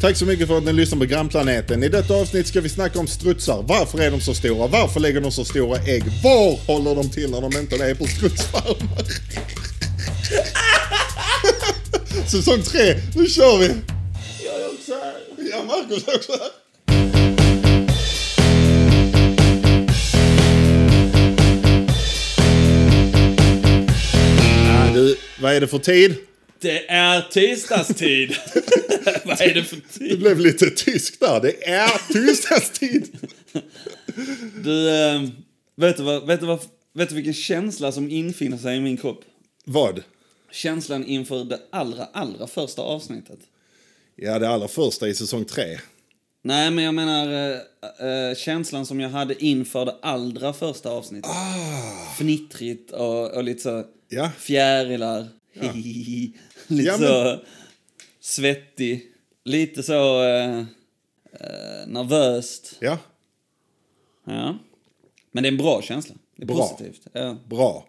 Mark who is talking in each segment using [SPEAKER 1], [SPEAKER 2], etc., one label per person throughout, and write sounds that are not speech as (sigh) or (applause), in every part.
[SPEAKER 1] Tack så mycket för att ni lyssnar på grannplaneten. I detta avsnitt ska vi snacka om strutsar. Varför är de så stora? Varför lägger de så stora ägg? Var håller de till när de inte är på strutsfarmar? (laughs) Säsong 3, nu kör vi!
[SPEAKER 2] Jag är också här.
[SPEAKER 1] Ja, Marcus också här. Ah, Du, vad är det för tid?
[SPEAKER 2] Det är (laughs) tisdagstid. Vad är det för
[SPEAKER 1] Det
[SPEAKER 2] tid?
[SPEAKER 1] blev lite tysk där. Det är tisdagstid.
[SPEAKER 2] Du, eh, vet, du vad, vet, du vad, vet du vilken känsla som infinner sig i min kropp?
[SPEAKER 1] Vad?
[SPEAKER 2] Känslan inför det allra, allra första avsnittet.
[SPEAKER 1] Ja, det allra första i säsong tre.
[SPEAKER 2] Nej, men jag menar eh, eh, känslan som jag hade inför det allra första avsnittet. Ah. Fnittrigt och, och lite så
[SPEAKER 1] Ja.
[SPEAKER 2] fjärilar. (laughs) lite
[SPEAKER 1] Ja, men-
[SPEAKER 2] så svettig. Lite så eh, eh, nervöst.
[SPEAKER 1] Ja,
[SPEAKER 2] Ja. Men det är en bra känsla. Det är
[SPEAKER 1] Bra.
[SPEAKER 2] positivt. Ja.
[SPEAKER 1] bra.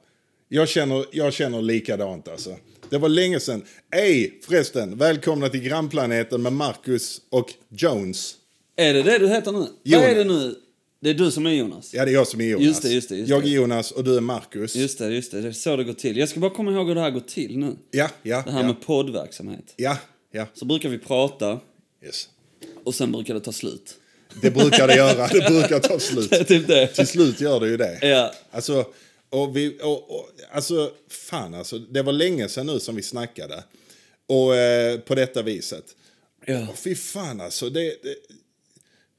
[SPEAKER 1] Jag känner, jag känner likadant alltså. Det var länge sedan. Ej, förresten, välkomna till grannplaneten med Marcus och Jones.
[SPEAKER 2] Är det det du heter nu?
[SPEAKER 1] Jonas.
[SPEAKER 2] Vad är det nu? Det är du som är Jonas.
[SPEAKER 1] Ja, det är jag som är Jonas.
[SPEAKER 2] Just det, just det, just
[SPEAKER 1] jag
[SPEAKER 2] det.
[SPEAKER 1] är Jonas och du är Marcus.
[SPEAKER 2] Just det, just det. Det är så det går till. Jag ska bara komma ihåg hur det här går till nu.
[SPEAKER 1] Ja, ja,
[SPEAKER 2] Det här
[SPEAKER 1] ja.
[SPEAKER 2] med poddverksamhet.
[SPEAKER 1] Ja, ja.
[SPEAKER 2] Så brukar vi prata
[SPEAKER 1] Yes.
[SPEAKER 2] och sen brukar det ta slut. (laughs)
[SPEAKER 1] Det brukar det göra. Det brukar ta slut.
[SPEAKER 2] Det är typ
[SPEAKER 1] Till
[SPEAKER 2] det.
[SPEAKER 1] slut gör det ju det.
[SPEAKER 2] Ja.
[SPEAKER 1] Alltså, och vi, och, och, alltså, fan alltså. Det var länge sedan nu som vi snackade. Och eh, på detta viset.
[SPEAKER 2] Ja.
[SPEAKER 1] Fy fan alltså. Det, det,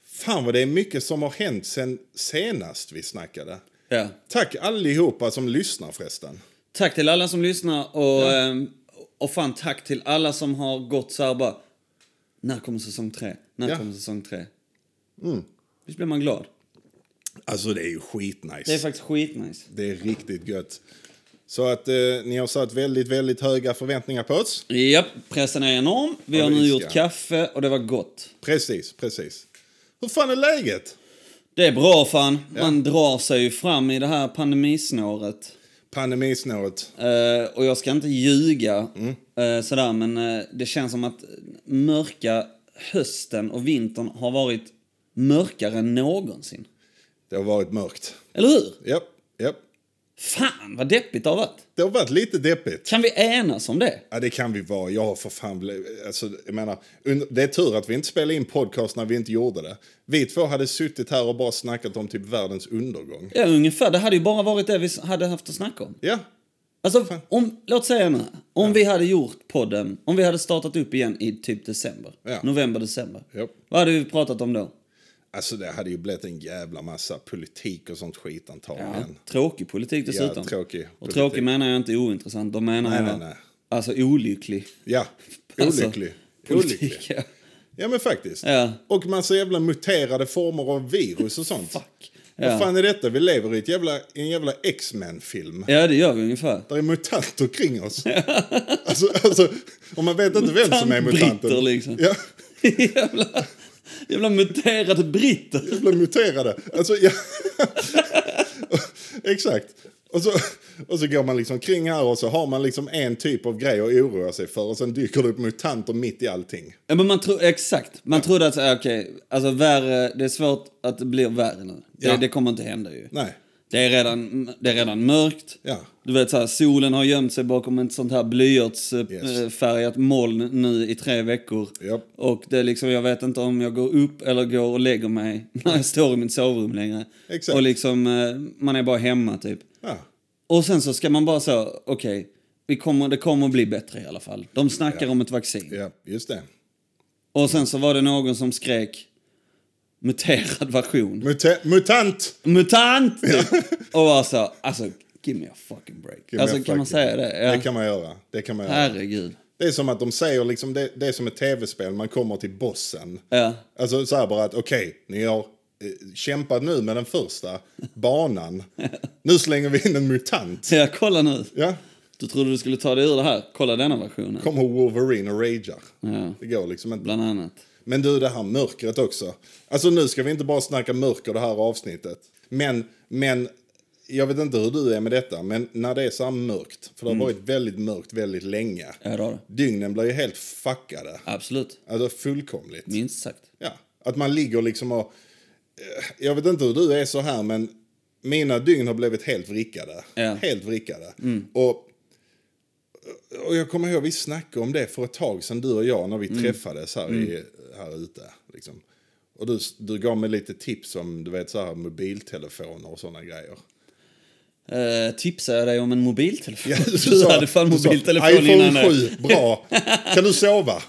[SPEAKER 1] fan vad det är mycket som har hänt sen senast vi snackade.
[SPEAKER 2] ja.
[SPEAKER 1] Tack allihopa som lyssnar förresten.
[SPEAKER 2] Tack till alla som lyssnar och, ehm, och fan tack till alla som har gått så här bara. När kommer säsong tre? När
[SPEAKER 1] Ja.
[SPEAKER 2] kommer säsong tre? Mm. Visst blir man glad?
[SPEAKER 1] Alltså det är ju skitnice.
[SPEAKER 2] Det är faktiskt skitnice.
[SPEAKER 1] Det är riktigt gött. Så att eh, ni har satt väldigt, väldigt höga förväntningar på oss.
[SPEAKER 2] Japp, pressen är enorm. Vi
[SPEAKER 1] Ja,
[SPEAKER 2] har nu
[SPEAKER 1] visst,
[SPEAKER 2] gjort
[SPEAKER 1] ja.
[SPEAKER 2] kaffe och det var gott.
[SPEAKER 1] Precis, precis. Hur fan är läget?
[SPEAKER 2] Det är bra fan. Man drar sig ju fram i det här pandemisnåret.
[SPEAKER 1] Pandemisnåret.
[SPEAKER 2] Eh, och jag ska inte ljuga eh, sådär, men eh, det känns som att mörka hösten och vintern har varit mörkare än någonsin.
[SPEAKER 1] Det har varit mörkt.
[SPEAKER 2] Eller hur?
[SPEAKER 1] Japp, japp.
[SPEAKER 2] Fan vad deppigt det har varit.
[SPEAKER 1] Det har varit lite deppigt.
[SPEAKER 2] Kan vi enas om det?
[SPEAKER 1] Ja, det kan vi vara. Jag har för fan... bli- Alltså, jag menar, und- det är tur att vi inte spelade in podcast när vi inte gjorde det. Vi två hade suttit här och bara snackat om typ världens undergång.
[SPEAKER 2] Ja, ungefär. Det hade ju bara varit det vi s- hade haft att snacka om.
[SPEAKER 1] Ja,
[SPEAKER 2] Alltså, om, låt säga nu, om vi hade gjort podden, om vi hade startat upp igen i typ december,
[SPEAKER 1] Ja.
[SPEAKER 2] november, december.
[SPEAKER 1] Japp.
[SPEAKER 2] Vad hade vi pratat om då?
[SPEAKER 1] alltså det hade ju blivit en jävla massa politik och sånt skit antagligen.
[SPEAKER 2] Tråkig politik dessutom.
[SPEAKER 1] Ja, tråkig
[SPEAKER 2] Och
[SPEAKER 1] politik.
[SPEAKER 2] tråkig menar jag inte ointressant, då menar
[SPEAKER 1] Nej,
[SPEAKER 2] jag
[SPEAKER 1] nej, nej.
[SPEAKER 2] alltså olycklig.
[SPEAKER 1] Ja,
[SPEAKER 2] Alltså,
[SPEAKER 1] olycklig.
[SPEAKER 2] politik,
[SPEAKER 1] olycklig.
[SPEAKER 2] Ja.
[SPEAKER 1] Ja, men faktiskt.
[SPEAKER 2] Ja.
[SPEAKER 1] Och massa jävla muterade former av virus och sånt.
[SPEAKER 2] Fuck.
[SPEAKER 1] Vad
[SPEAKER 2] Ja.
[SPEAKER 1] fan är detta? Vi lever i ett jävla, i en jävla X-Men-film.
[SPEAKER 2] ja, det gör vi ungefär. (laughs)
[SPEAKER 1] Där är mutanter kring oss. alltså, alltså, och man vet inte vem som är mutanten.
[SPEAKER 2] Mutantbritter, liksom.
[SPEAKER 1] Ja,
[SPEAKER 2] jävla, jävla muterade britter.
[SPEAKER 1] jävla muterade. Alltså, ja. Exakt. Och så, och så går man liksom kring här och så har man liksom en typ av grej att oroa sig för och sen dyker det upp mutanter mitt i allting.
[SPEAKER 2] Ja, men man tro, exakt. Man trodde att så här, okej, alltså värre, det är svårt att det blir värre nu. Det,
[SPEAKER 1] Ja.
[SPEAKER 2] det kommer inte hända ju.
[SPEAKER 1] Nej.
[SPEAKER 2] Det är redan, det är redan mörkt.
[SPEAKER 1] Ja.
[SPEAKER 2] Du vet så här, solen har gömt sig bakom ett sånt här
[SPEAKER 1] Yes.
[SPEAKER 2] blyertsfärgat moln nu i tre veckor.
[SPEAKER 1] Japp.
[SPEAKER 2] Och det är liksom, jag vet inte om jag går upp eller går och lägger mig (laughs) när jag står i mitt sovrum längre.
[SPEAKER 1] Exakt.
[SPEAKER 2] Och liksom, eh, man är bara hemma typ.
[SPEAKER 1] Ja.
[SPEAKER 2] Och sen så ska man bara så, okej, vi kommer, det kommer att bli bättre i alla fall. De snackar om ett vaccin.
[SPEAKER 1] ja, just det.
[SPEAKER 2] Och sen så var det någon som skrek muterad version.
[SPEAKER 1] Muta- mutant!
[SPEAKER 2] Mutant! Typ. och var så, alltså give me a fucking break.
[SPEAKER 1] Give me
[SPEAKER 2] alltså
[SPEAKER 1] a
[SPEAKER 2] kan
[SPEAKER 1] fucking-
[SPEAKER 2] man säga det? Ja.
[SPEAKER 1] Det kan man göra. Det, kan man göra.
[SPEAKER 2] Herregud.
[SPEAKER 1] det är som att de säger, liksom, det, det är som ett tv-spel, man kommer till bossen.
[SPEAKER 2] Ja.
[SPEAKER 1] Alltså så här bara att okej, ni har eh, kämpat nu med den första banan. nu slänger vi in en mutant.
[SPEAKER 2] Så jag kolla nu.
[SPEAKER 1] Ja,
[SPEAKER 2] Du trodde du skulle ta dig ur det här. Kolla denna versionen.
[SPEAKER 1] kommer Wolverine och ragear.
[SPEAKER 2] Ja,
[SPEAKER 1] Det går liksom inte.
[SPEAKER 2] bland annat.
[SPEAKER 1] Men du, det här mörkret också. Alltså nu ska vi inte bara snacka mörker det här avsnittet. Men, men jag vet inte hur du är med detta, men när det är så här mörkt, för det har varit väldigt mörkt väldigt länge.
[SPEAKER 2] Ja, det har det.
[SPEAKER 1] Dygnen blir ju helt fuckade.
[SPEAKER 2] Absolut.
[SPEAKER 1] Alltså fullkomligt.
[SPEAKER 2] Minst sagt.
[SPEAKER 1] Ja, att man ligger liksom och... eh, Jag vet inte hur du är så här, men mina dygn har blivit helt vrickade.
[SPEAKER 2] Ja. Mm.
[SPEAKER 1] Helt vrickade. Och, och jag kommer ihåg, vi snackade om det för ett tag sedan, du och jag, när vi
[SPEAKER 2] Mm.
[SPEAKER 1] träffades här, i, här ute. Liksom. Och du, du gav mig lite tips om du vet, så här, mobiltelefoner och sådana grejer.
[SPEAKER 2] Eh, tipsade jag dig om en mobiltelefon?
[SPEAKER 1] Ja,
[SPEAKER 2] du
[SPEAKER 1] sa-
[SPEAKER 2] hade fan
[SPEAKER 1] du sa,
[SPEAKER 2] mobiltelefon innan.
[SPEAKER 1] iPhone
[SPEAKER 2] det.
[SPEAKER 1] 7, bra. Kan du
[SPEAKER 2] (laughs)
[SPEAKER 1] sova?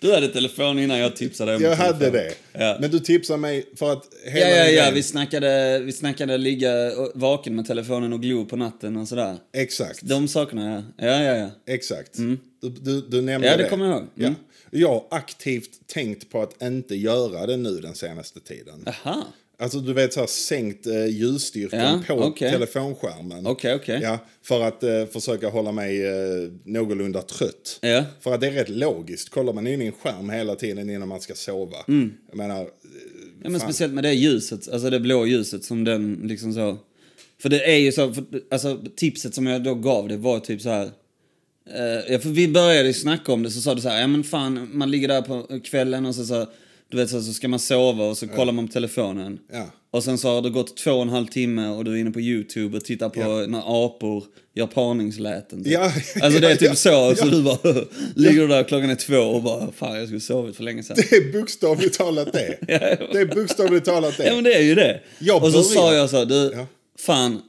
[SPEAKER 2] Du hade telefon innan jag tipsade dig om
[SPEAKER 1] Jag
[SPEAKER 2] en telefon.
[SPEAKER 1] hade det.
[SPEAKER 2] Ja.
[SPEAKER 1] Men du tipsade mig för att...
[SPEAKER 2] Ja,
[SPEAKER 1] hela
[SPEAKER 2] ja,
[SPEAKER 1] den
[SPEAKER 2] ja.
[SPEAKER 1] grejen-
[SPEAKER 2] Vi snackade, vi snackade ligga och- vaken med telefonen och glo på natten och sådär.
[SPEAKER 1] Exakt.
[SPEAKER 2] De sakerna, ja. Ja, ja, ja.
[SPEAKER 1] Exakt. Du, du, du nämnde
[SPEAKER 2] Mm. Ja, det kommer jag ihåg. Mm.
[SPEAKER 1] Ja. Jag har aktivt tänkt på att inte göra det nu den senaste tiden.
[SPEAKER 2] Aha.
[SPEAKER 1] Alltså du vet så här sänkt eh, ljusstyrkan
[SPEAKER 2] Ja,
[SPEAKER 1] på
[SPEAKER 2] okej.
[SPEAKER 1] telefonskärmen.
[SPEAKER 2] Okej, okej.
[SPEAKER 1] Ja, för att eh, försöka hålla mig eh, någorlunda trött.
[SPEAKER 2] Ja.
[SPEAKER 1] För att det är rätt logiskt. Kollar man in i en skärm hela tiden innan man ska sova.
[SPEAKER 2] Mm.
[SPEAKER 1] Jag menar, (laughs) eh,
[SPEAKER 2] Ja, men speciellt med det ljuset, alltså det blå ljuset som den liksom så... För det är ju så, för, alltså tipset som jag då gav det var typ så här... Eh, ja, för vi började ju snacka om det så sa du så här, ja men fan man ligger där på kvällen och så, så du vet så, så ska man sova och så kollar man på telefonen.
[SPEAKER 1] Ja.
[SPEAKER 2] Och sen så har det gått två och en halv timme och du är inne på YouTube och tittar på när apor gör parningsläten. typ.
[SPEAKER 1] Ja.
[SPEAKER 2] Alltså det är
[SPEAKER 1] (laughs)
[SPEAKER 2] typ
[SPEAKER 1] Ja,
[SPEAKER 2] så,
[SPEAKER 1] ja,
[SPEAKER 2] så du bara (laughs) ligger du där klockan är två och bara fan jag skulle sovit för länge sedan. (laughs)
[SPEAKER 1] det är bokstavligt talat det. Det är bokstavligt talat det.
[SPEAKER 2] Ja men det är ju det.
[SPEAKER 1] Jag
[SPEAKER 2] och så
[SPEAKER 1] börjar-
[SPEAKER 2] sa jag så här, du,
[SPEAKER 1] Ja.
[SPEAKER 2] fan.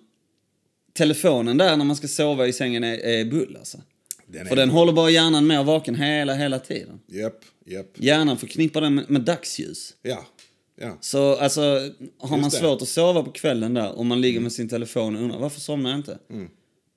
[SPEAKER 2] Telefonen där när man ska sova i sängen är, är bull alltså.
[SPEAKER 1] Den
[SPEAKER 2] För
[SPEAKER 1] är-
[SPEAKER 2] den håller bara hjärnan mer vaken hela, hela tiden.
[SPEAKER 1] Japp, japp.
[SPEAKER 2] Hjärnan förknippar den med, med dagsljus.
[SPEAKER 1] Ja, ja.
[SPEAKER 2] Så alltså, har man
[SPEAKER 1] det.
[SPEAKER 2] svårt att sova på kvällen där och man ligger med sin telefon och undrar varför somnar jag inte?
[SPEAKER 1] Mm.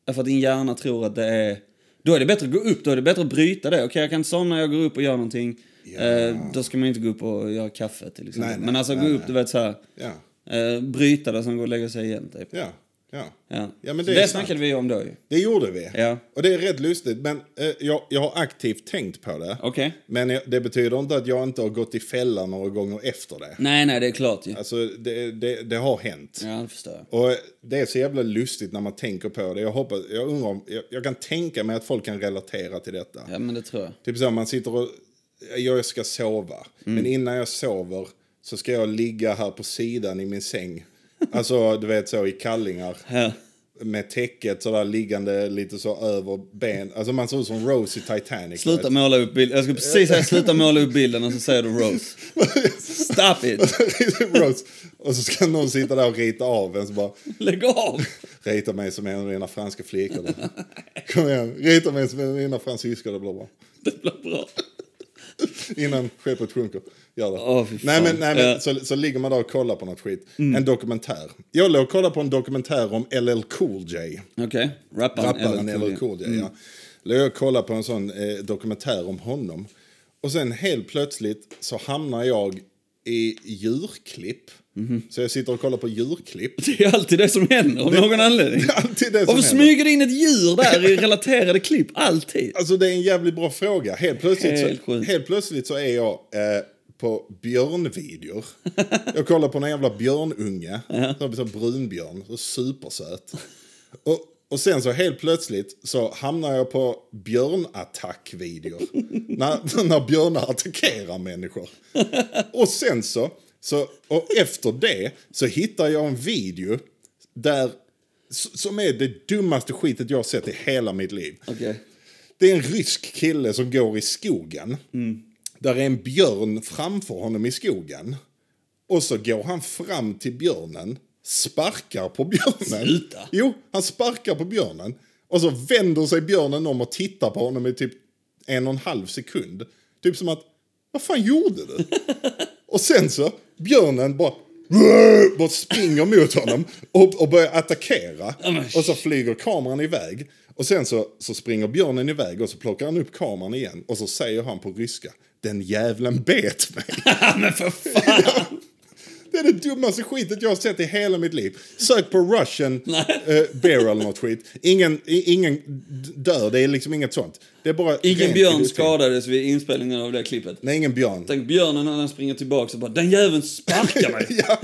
[SPEAKER 2] Därför att din hjärna tror att det är... Då är det bättre att gå upp, då är det bättre att bryta det. Okej, jag kan somna, jag går upp och gör någonting.
[SPEAKER 1] Ja.
[SPEAKER 2] Eh, då ska man inte gå upp och göra kaffe till exempel.
[SPEAKER 1] Nej, nej,
[SPEAKER 2] Men alltså
[SPEAKER 1] nej,
[SPEAKER 2] gå upp,
[SPEAKER 1] nej.
[SPEAKER 2] du vet så här.
[SPEAKER 1] Ja,
[SPEAKER 2] Eh, bryta det och sen gå och lägga sig igen typ.
[SPEAKER 1] ja, ja.
[SPEAKER 2] Ja.
[SPEAKER 1] Ja, men
[SPEAKER 2] Så
[SPEAKER 1] det är
[SPEAKER 2] det
[SPEAKER 1] sant.
[SPEAKER 2] snackade vi om då ju.
[SPEAKER 1] Det gjorde vi.
[SPEAKER 2] Ja.
[SPEAKER 1] Och det är rätt lustigt, men eh, jag, jag har aktivt tänkt på det.
[SPEAKER 2] Okej.
[SPEAKER 1] Men jag, det betyder inte att jag inte har gått i fällan några gånger efter det.
[SPEAKER 2] Nej, nej, det är klart ju.
[SPEAKER 1] Alltså, det, det, det har hänt.
[SPEAKER 2] Ja, det förstår jag.
[SPEAKER 1] Och det är så jävla lustigt när man tänker på det. Jag, hoppas, jag, undrar, om- jag, jag kan tänka mig att folk kan relatera till detta.
[SPEAKER 2] Ja, men det tror jag.
[SPEAKER 1] Typ så, man sitter och... Jag ska sova.
[SPEAKER 2] Mm.
[SPEAKER 1] Men innan jag sover så ska jag ligga här på sidan i min säng. Alltså, du vet så i kallingar.
[SPEAKER 2] Ja.
[SPEAKER 1] med täcket sådär liggande lite så över ben. Alltså man ser ut som Rose i Titanic.
[SPEAKER 2] Sluta måla upp bilden. Jag skulle precis säga sluta måla upp bilden och så säger du
[SPEAKER 1] (laughs)
[SPEAKER 2] Rose. Stop it!
[SPEAKER 1] (laughs) Rose. Och så ska någon sitta där och rita av en så bara
[SPEAKER 2] Lägg av!
[SPEAKER 1] rita mig som en av dina franska flickor.
[SPEAKER 2] (laughs)
[SPEAKER 1] Då. Kom igen, rita mig som en av dina fransyskor, det blir bra.
[SPEAKER 2] Det blir bra.
[SPEAKER 1] Innan skeppet sjunker. Gör det.
[SPEAKER 2] Åh, fy fan.
[SPEAKER 1] nej men, nej, men
[SPEAKER 2] Ja. Mm.
[SPEAKER 1] så, så ligger man där och kollar på något skit. En dokumentär. Jag låg och kollade på en dokumentär om LL Cool J.
[SPEAKER 2] Okej, rapparen.
[SPEAKER 1] rapparen
[SPEAKER 2] eller- Mm.
[SPEAKER 1] eller Cool J. Ja. Låg jag och kollade på en sån eh, dokumentär om honom. Och sen helt plötsligt så hamnar jag i djurklipp.
[SPEAKER 2] Mhm.
[SPEAKER 1] Så jag sitter och kollar på djurklipp.
[SPEAKER 2] Det är alltid det som händer av någon anledning.
[SPEAKER 1] Det är (laughs) alltid det som
[SPEAKER 2] Varför
[SPEAKER 1] händer.
[SPEAKER 2] smyger det in ett djur där i relaterade klipp? Alltid.
[SPEAKER 1] Alltså det är en jävligt bra fråga. Helt plötsligt,
[SPEAKER 2] Helt
[SPEAKER 1] så,
[SPEAKER 2] sjukt.
[SPEAKER 1] helt plötsligt så är jag eh, på björnvideor. jag kollar på en jävla björnunge. Som är så brunbjörn. Så supersöt. Och, och sen så helt plötsligt så hamnar jag på
[SPEAKER 2] (laughs)
[SPEAKER 1] björnattackvideor. när, när björnar attackerar människor. Och sen så, så, och efter det så hittar jag en video där s- som är det dummaste skitet jag har sett i hela mitt liv.
[SPEAKER 2] Okej.
[SPEAKER 1] Det är en rysk kille som går i skogen. Där är en björn framför honom i skogen. Och så går han fram till björnen, sparkar på björnen.
[SPEAKER 2] Sluta.
[SPEAKER 1] Jo, han sparkar på björnen. Och så vänder sig björnen om och tittar på honom i typ en och en halv sekund. Typ som att, vad fan gjorde du? och sen så, björnen bara, bara springer mot honom och, och börjar attackera.
[SPEAKER 2] men
[SPEAKER 1] Och så flyger kameran iväg. Och sen så, så springer björnen iväg och så plockar han upp kameran igen. Och så säger han på ryska, den jävlen bet mig.
[SPEAKER 2] Ja, men för fan!
[SPEAKER 1] (laughs) Det är det dummaste skitet jag har sett i hela mitt liv. Sök på Russian eh, bear eller något skit. Ingen, i- ingen d- dör, det är liksom inget sånt. Det är bara
[SPEAKER 2] Ingen
[SPEAKER 1] rent
[SPEAKER 2] björn
[SPEAKER 1] idioti.
[SPEAKER 2] skadades vid inspelningen av det klippet.
[SPEAKER 1] Nej, ingen björn.
[SPEAKER 2] Tänk björnen när den springer tillbaka och bara den jäveln sparkar mig.
[SPEAKER 1] (laughs) Ja,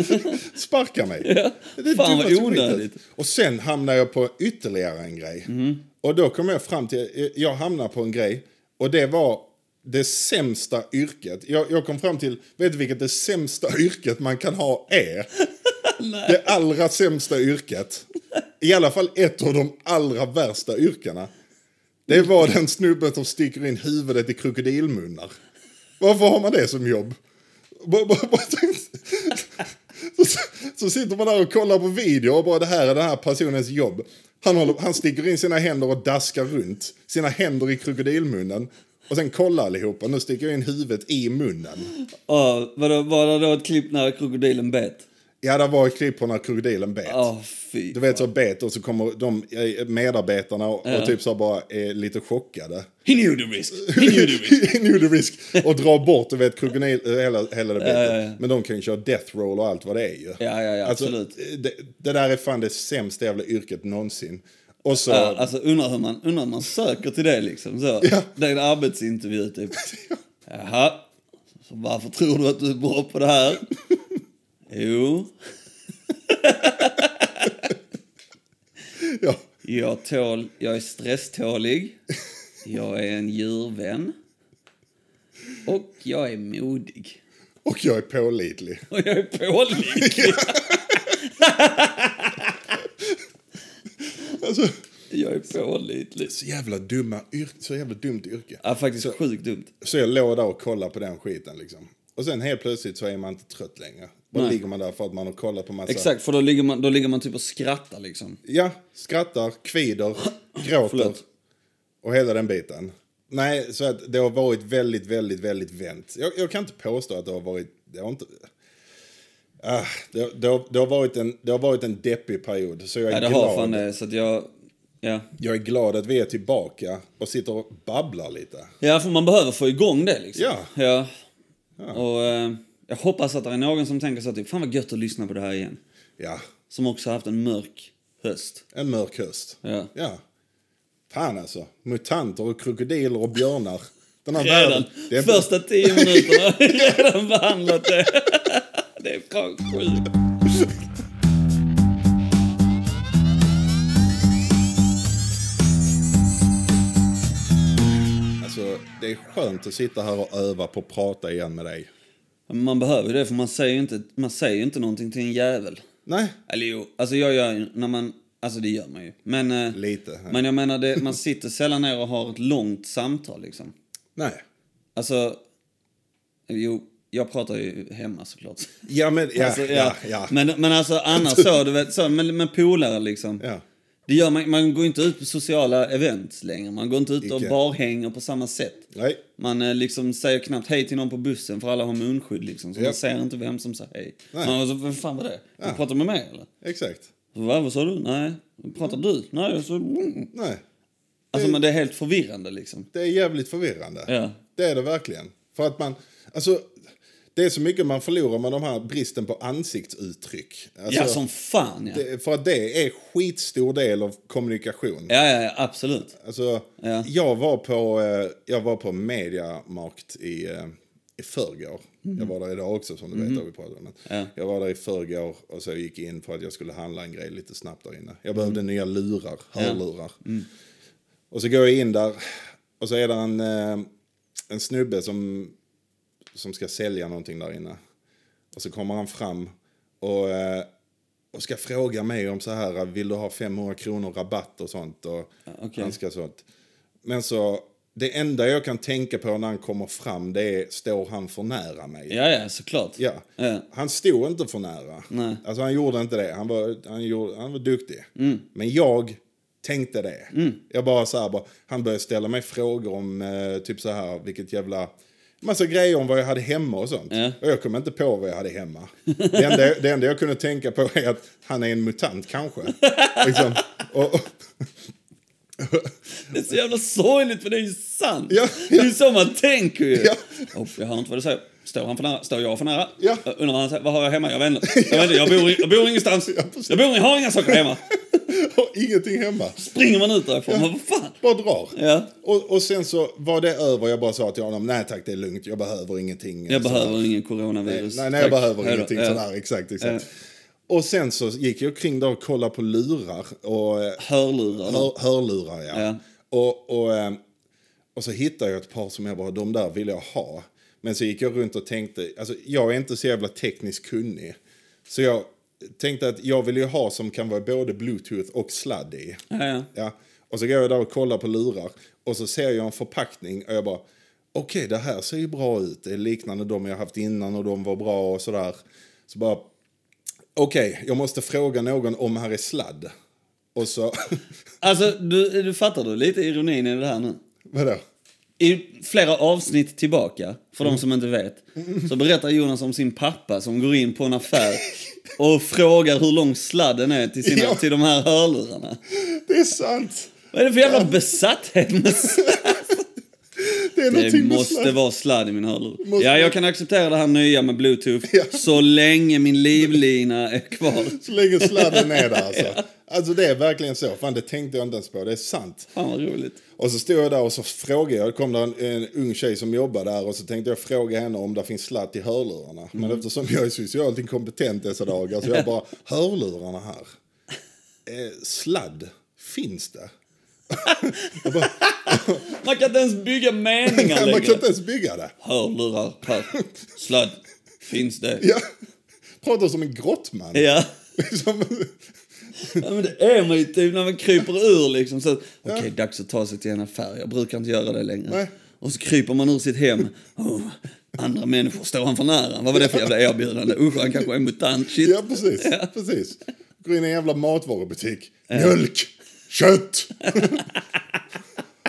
[SPEAKER 1] sparka mig. Det är
[SPEAKER 2] Fan, vad
[SPEAKER 1] dummaste
[SPEAKER 2] onödigt. Mm.
[SPEAKER 1] skitet. Och sen hamnar jag på ytterligare en grej. Och då kom jag fram till, jag hamnar på en grej och det var det sämsta yrket. Jag, jag kom fram till, vet du vilket det sämsta (laughs) yrket man kan ha
[SPEAKER 2] (laughs)
[SPEAKER 1] är? Det allra sämsta yrket. I alla fall ett av de allra värsta yrkena. Det var den snubben som sticker in huvudet i krokodilmunnar. Varför har man det som jobb? Bara- bara- (laughs) bara tänkt- så, så sitter man där och kollar på video och bara det här är den här personens jobb. Han, håller, han sticker in sina händer och daskar runt. Sina händer i krokodilmunnen. Och sen kollar allihopa. Nu sticker jag in huvudet i munnen.
[SPEAKER 2] Ja, vadå, var det då ett klipp när krokodilen bet?
[SPEAKER 1] Ja, det var ett klipp på när krokodilen bet.
[SPEAKER 2] Ja, fy.
[SPEAKER 1] Du vet så bet och så kommer de eh, medarbetarna och, och typ så här bara är lite chockade.
[SPEAKER 2] He knew the risk. He knew the
[SPEAKER 1] (laughs)
[SPEAKER 2] risk.
[SPEAKER 1] nu är det risk. Och dra bort du vet, krokodil, eh, hela, hela det biten. Men de kan ju köra death roll och allt vad det är ju.
[SPEAKER 2] Ja, ja, ja,
[SPEAKER 1] Alltså,
[SPEAKER 2] absolut.
[SPEAKER 1] Det, det där är fan det sämsta jävla yrket någonsin. Och så,
[SPEAKER 2] Ja, alltså undrar hur man, undrar hur man söker till det liksom. Så. Det är en arbetsintervju typ.
[SPEAKER 1] (laughs)
[SPEAKER 2] Jaha, så varför tror du att du är bra på
[SPEAKER 1] (laughs)
[SPEAKER 2] det här? Jo,
[SPEAKER 1] (laughs) ja,
[SPEAKER 2] jag, tål, jag är stresstålig. Jag är en djurvän. Och jag är modig.
[SPEAKER 1] och jag är pålitlig.
[SPEAKER 2] Och jag är pålitlig.
[SPEAKER 1] Alltså,
[SPEAKER 2] Jag är pålitlig.
[SPEAKER 1] så jävla dumma yrke, så jävla dumt yrke.
[SPEAKER 2] Ja, faktiskt sjukt dumt.
[SPEAKER 1] Så jag låg där och kollade på den skiten liksom. Och sen helt plötsligt så är man inte trött längre. Bara ligger man där för att man har kollat på massa...
[SPEAKER 2] Exakt, för då ligger man, då ligger man typ och skrattar liksom.
[SPEAKER 1] Ja, skrattar, kvider, gråter
[SPEAKER 2] Förlåt.
[SPEAKER 1] och hela den biten. Nej, så att det har varit väldigt, väldigt, väldigt vänt. Jag, jag kan inte påstå att det har varit... Det har inte... Ah, det, det, har, det, har varit en, det har varit en deppig period, så jag är,
[SPEAKER 2] Ja, det har fan
[SPEAKER 1] glad.
[SPEAKER 2] det, så att jag... Ja.
[SPEAKER 1] jag är glad att vi är tillbaka och sitter och babblar lite.
[SPEAKER 2] ja, för man behöver få igång det liksom.
[SPEAKER 1] Ja.
[SPEAKER 2] ja. Och eh, jag hoppas att det är någon som tänker så att typ, fan vad gött att lyssna på det här igen.
[SPEAKER 1] Ja,
[SPEAKER 2] Som också har haft en mörk höst.
[SPEAKER 1] en mörk höst.
[SPEAKER 2] Ja.
[SPEAKER 1] ja. Fan alltså, mutanter och krokodiler och björnar. Den här
[SPEAKER 2] Redan
[SPEAKER 1] världen. det är-
[SPEAKER 2] första tio minuterna har jag redan behandlat det. (laughs) det är fan sjukt.
[SPEAKER 1] Alltså, det är skönt att sitta här och öva på att prata igen med dig.
[SPEAKER 2] Man behöver ju det för man säger ju inte, man säger ju inte någonting till en jävel.
[SPEAKER 1] Nej,
[SPEAKER 2] Eller jo, alltså jag gör ju, när man, alltså det gör man ju. Men, eh,
[SPEAKER 1] Lite, ja.
[SPEAKER 2] men jag menar, det, man sitter sällan ner och har ett långt samtal liksom.
[SPEAKER 1] nej.
[SPEAKER 2] Alltså, jo, jag pratar ju hemma såklart.
[SPEAKER 1] Ja, men (laughs) ja,
[SPEAKER 2] Alltså,
[SPEAKER 1] ja, ja.
[SPEAKER 2] Men, men alltså annars så, du vet, så, men, men polare liksom.
[SPEAKER 1] Ja.
[SPEAKER 2] Det gör man, man går inte ut på sociala events längre. Man går inte ut och
[SPEAKER 1] Icke.
[SPEAKER 2] barhänger på samma sätt.
[SPEAKER 1] Nej,
[SPEAKER 2] Man eh, liksom säger knappt hej till någon på bussen för alla har munskydd liksom. Så
[SPEAKER 1] Ja.
[SPEAKER 2] man ser inte vem som säger hej.
[SPEAKER 1] Nej.
[SPEAKER 2] Man, alltså, vem fan var det? Du pratar med mig eller?
[SPEAKER 1] exakt.
[SPEAKER 2] Va, vad sa du? Nej. Pratar du? Nej, jag sa... mm.
[SPEAKER 1] Nej,
[SPEAKER 2] Alltså, men det är helt förvirrande liksom.
[SPEAKER 1] det är jävligt förvirrande.
[SPEAKER 2] Ja.
[SPEAKER 1] Det är det verkligen. För att man, alltså, det är så mycket man förlorar med de här bristen på ansiktsuttryck. Alltså,
[SPEAKER 2] ja, som fan ja.
[SPEAKER 1] det, för att det är skitstor del av kommunikation.
[SPEAKER 2] Ja, ja, ja, absolut.
[SPEAKER 1] Alltså,
[SPEAKER 2] Ja.
[SPEAKER 1] jag, var på, eh, jag var på Mediamarkt i, eh, i förrgår. Jag var där idag också som du vet. Har vi pratat om. Men
[SPEAKER 2] Mhm. Ja.
[SPEAKER 1] Jag var där i förrgår och så gick jag in för att jag skulle handla en grej lite snabbt där inne. Jag
[SPEAKER 2] Mhm.
[SPEAKER 1] behövde nya lurar, hörlurar.
[SPEAKER 2] Mm.
[SPEAKER 1] Och så går jag in där och så är det en, eh, en snubbe som, som ska sälja någonting där inne. Och så kommer han fram och, eh, och ska fråga mig om så här, vill du ha 500 kronor rabatt och sånt. Och
[SPEAKER 2] okej.
[SPEAKER 1] han ska sånt. Men så, det enda jag kan tänka på när han kommer fram det är, står han för nära mig?
[SPEAKER 2] Ja, ja, såklart.
[SPEAKER 1] Ja.
[SPEAKER 2] Ja.
[SPEAKER 1] Han stod inte för nära.
[SPEAKER 2] Nej.
[SPEAKER 1] Alltså han gjorde inte det. Han var, han gjorde, han var duktig.
[SPEAKER 2] Mm.
[SPEAKER 1] Men jag tänkte det. Jag bara så här, bara, han började ställa mig frågor om eh, typ så här, vilket jävla... Massa grejer om vad jag hade hemma och sånt.
[SPEAKER 2] Ja.
[SPEAKER 1] Och jag kom inte på vad jag hade hemma. Det enda, det enda jag kunde
[SPEAKER 2] (laughs)
[SPEAKER 1] tänka på är att han är en mutant kanske. liksom. och, och,
[SPEAKER 2] Det är så jävla sorgligt, för det är ju sant.
[SPEAKER 1] Ja,
[SPEAKER 2] Det är ju så man tänker ju.
[SPEAKER 1] Ja.
[SPEAKER 2] Oh, jag hör inte vad du säger. Står han för nära? Står jag för nära?
[SPEAKER 1] Ja.
[SPEAKER 2] Jag undrar vad han säger. Vad har jag hemma? Jag vet
[SPEAKER 1] (laughs)
[SPEAKER 2] inte. Jag, vet inte. jag, bor, i- jag bor ingenstans.
[SPEAKER 1] precis.
[SPEAKER 2] jag bor, jag har inga saker
[SPEAKER 1] (laughs)
[SPEAKER 2] hemma.
[SPEAKER 1] Har ingenting hemma.
[SPEAKER 2] Springer man ut därifrån, men vad fan?
[SPEAKER 1] Bara drar.
[SPEAKER 2] Ja.
[SPEAKER 1] Och, och sen så var det över. Jag bara sa till honom, nej tack det är lugnt. Jag behöver ingenting.
[SPEAKER 2] Jag
[SPEAKER 1] Så här.
[SPEAKER 2] behöver ingen coronavirus.
[SPEAKER 1] Nej, nej jag
[SPEAKER 2] Tack.
[SPEAKER 1] behöver
[SPEAKER 2] Hej då.
[SPEAKER 1] ingenting
[SPEAKER 2] Ja.
[SPEAKER 1] sådär. Exakt, exakt. Och sen så gick jag kring där och kollade på lurar. Och, eh,
[SPEAKER 2] Hörlurar.
[SPEAKER 1] hör, hörlurar ja.
[SPEAKER 2] Ja.
[SPEAKER 1] Och, och, eh, och så hittade jag ett par som jag bara, de där vill jag ha. Men så gick jag runt och tänkte, alltså jag är inte så jävla tekniskt kunnig. Så jag tänkte att jag vill ju ha som kan vara både bluetooth och sladd i.
[SPEAKER 2] Ja, ja.
[SPEAKER 1] Ja. Och så går jag där och kollar på lurar och så ser jag en förpackning och jag bara okej det här ser ju bra ut. Det är liknande de jag haft innan och de var bra och sådär. Så bara okej jag måste fråga någon om här är sladd. Och så, (laughs)
[SPEAKER 2] Alltså, du, du fattar du lite ironin i det här nu?
[SPEAKER 1] vadå?
[SPEAKER 2] I flera avsnitt tillbaka, för
[SPEAKER 1] Mm.
[SPEAKER 2] de som inte vet, så berättar Jonas om sin pappa som går in på en affär och frågar hur lång sladden är till, sina,
[SPEAKER 1] Ja.
[SPEAKER 2] till de här hörlurarna.
[SPEAKER 1] Det är sant!
[SPEAKER 2] Vad är det för jävla
[SPEAKER 1] (laughs)
[SPEAKER 2] besatthet med sladd?
[SPEAKER 1] Det är
[SPEAKER 2] Det
[SPEAKER 1] någonting med
[SPEAKER 2] måste
[SPEAKER 1] sladd.
[SPEAKER 2] vara sladd i min hörlur.
[SPEAKER 1] Måste-
[SPEAKER 2] Ja, jag kan acceptera det här nya med bluetooth
[SPEAKER 1] Ja.
[SPEAKER 2] så länge min livlina är kvar.
[SPEAKER 1] Så länge sladden är där
[SPEAKER 2] (laughs)
[SPEAKER 1] alltså. Alltså det är verkligen så. Fan det tänkte jag inte ens på. Det är sant.
[SPEAKER 2] Fan vad roligt.
[SPEAKER 1] Och så stod jag där och så frågade jag, det kom där en, en ung tjej som jobbade där och så tänkte jag fråga henne om det finns sladd i hörlurarna. Men eftersom jag är socialt inkompetent dessa dagar så jag bara, hörlurarna här, eh, sladd, finns det?
[SPEAKER 2] Man kan inte ens bygga
[SPEAKER 1] (laughs)
[SPEAKER 2] meningar
[SPEAKER 1] Man kan
[SPEAKER 2] längre.
[SPEAKER 1] inte ens bygga det.
[SPEAKER 2] Hörlurar, här. Sladd. Finns det?
[SPEAKER 1] Ja. Pratar som en grottman.
[SPEAKER 2] Ja.
[SPEAKER 1] (laughs) Liksom.
[SPEAKER 2] ja, men det är man ju typ när man kryper ur liksom. Så, okej, dags att ta sig till en affär. Jag brukar inte göra det längre.
[SPEAKER 1] Nej.
[SPEAKER 2] Och så kryper man ur sitt hem. Oh, andra människor står han för nära. Vad var det för jävla erbjudande? Usch, han kanske är en mutant. Shit.
[SPEAKER 1] Ja, precis. precis. Går in i en jävla matvarubutik. Mjölk! Kött!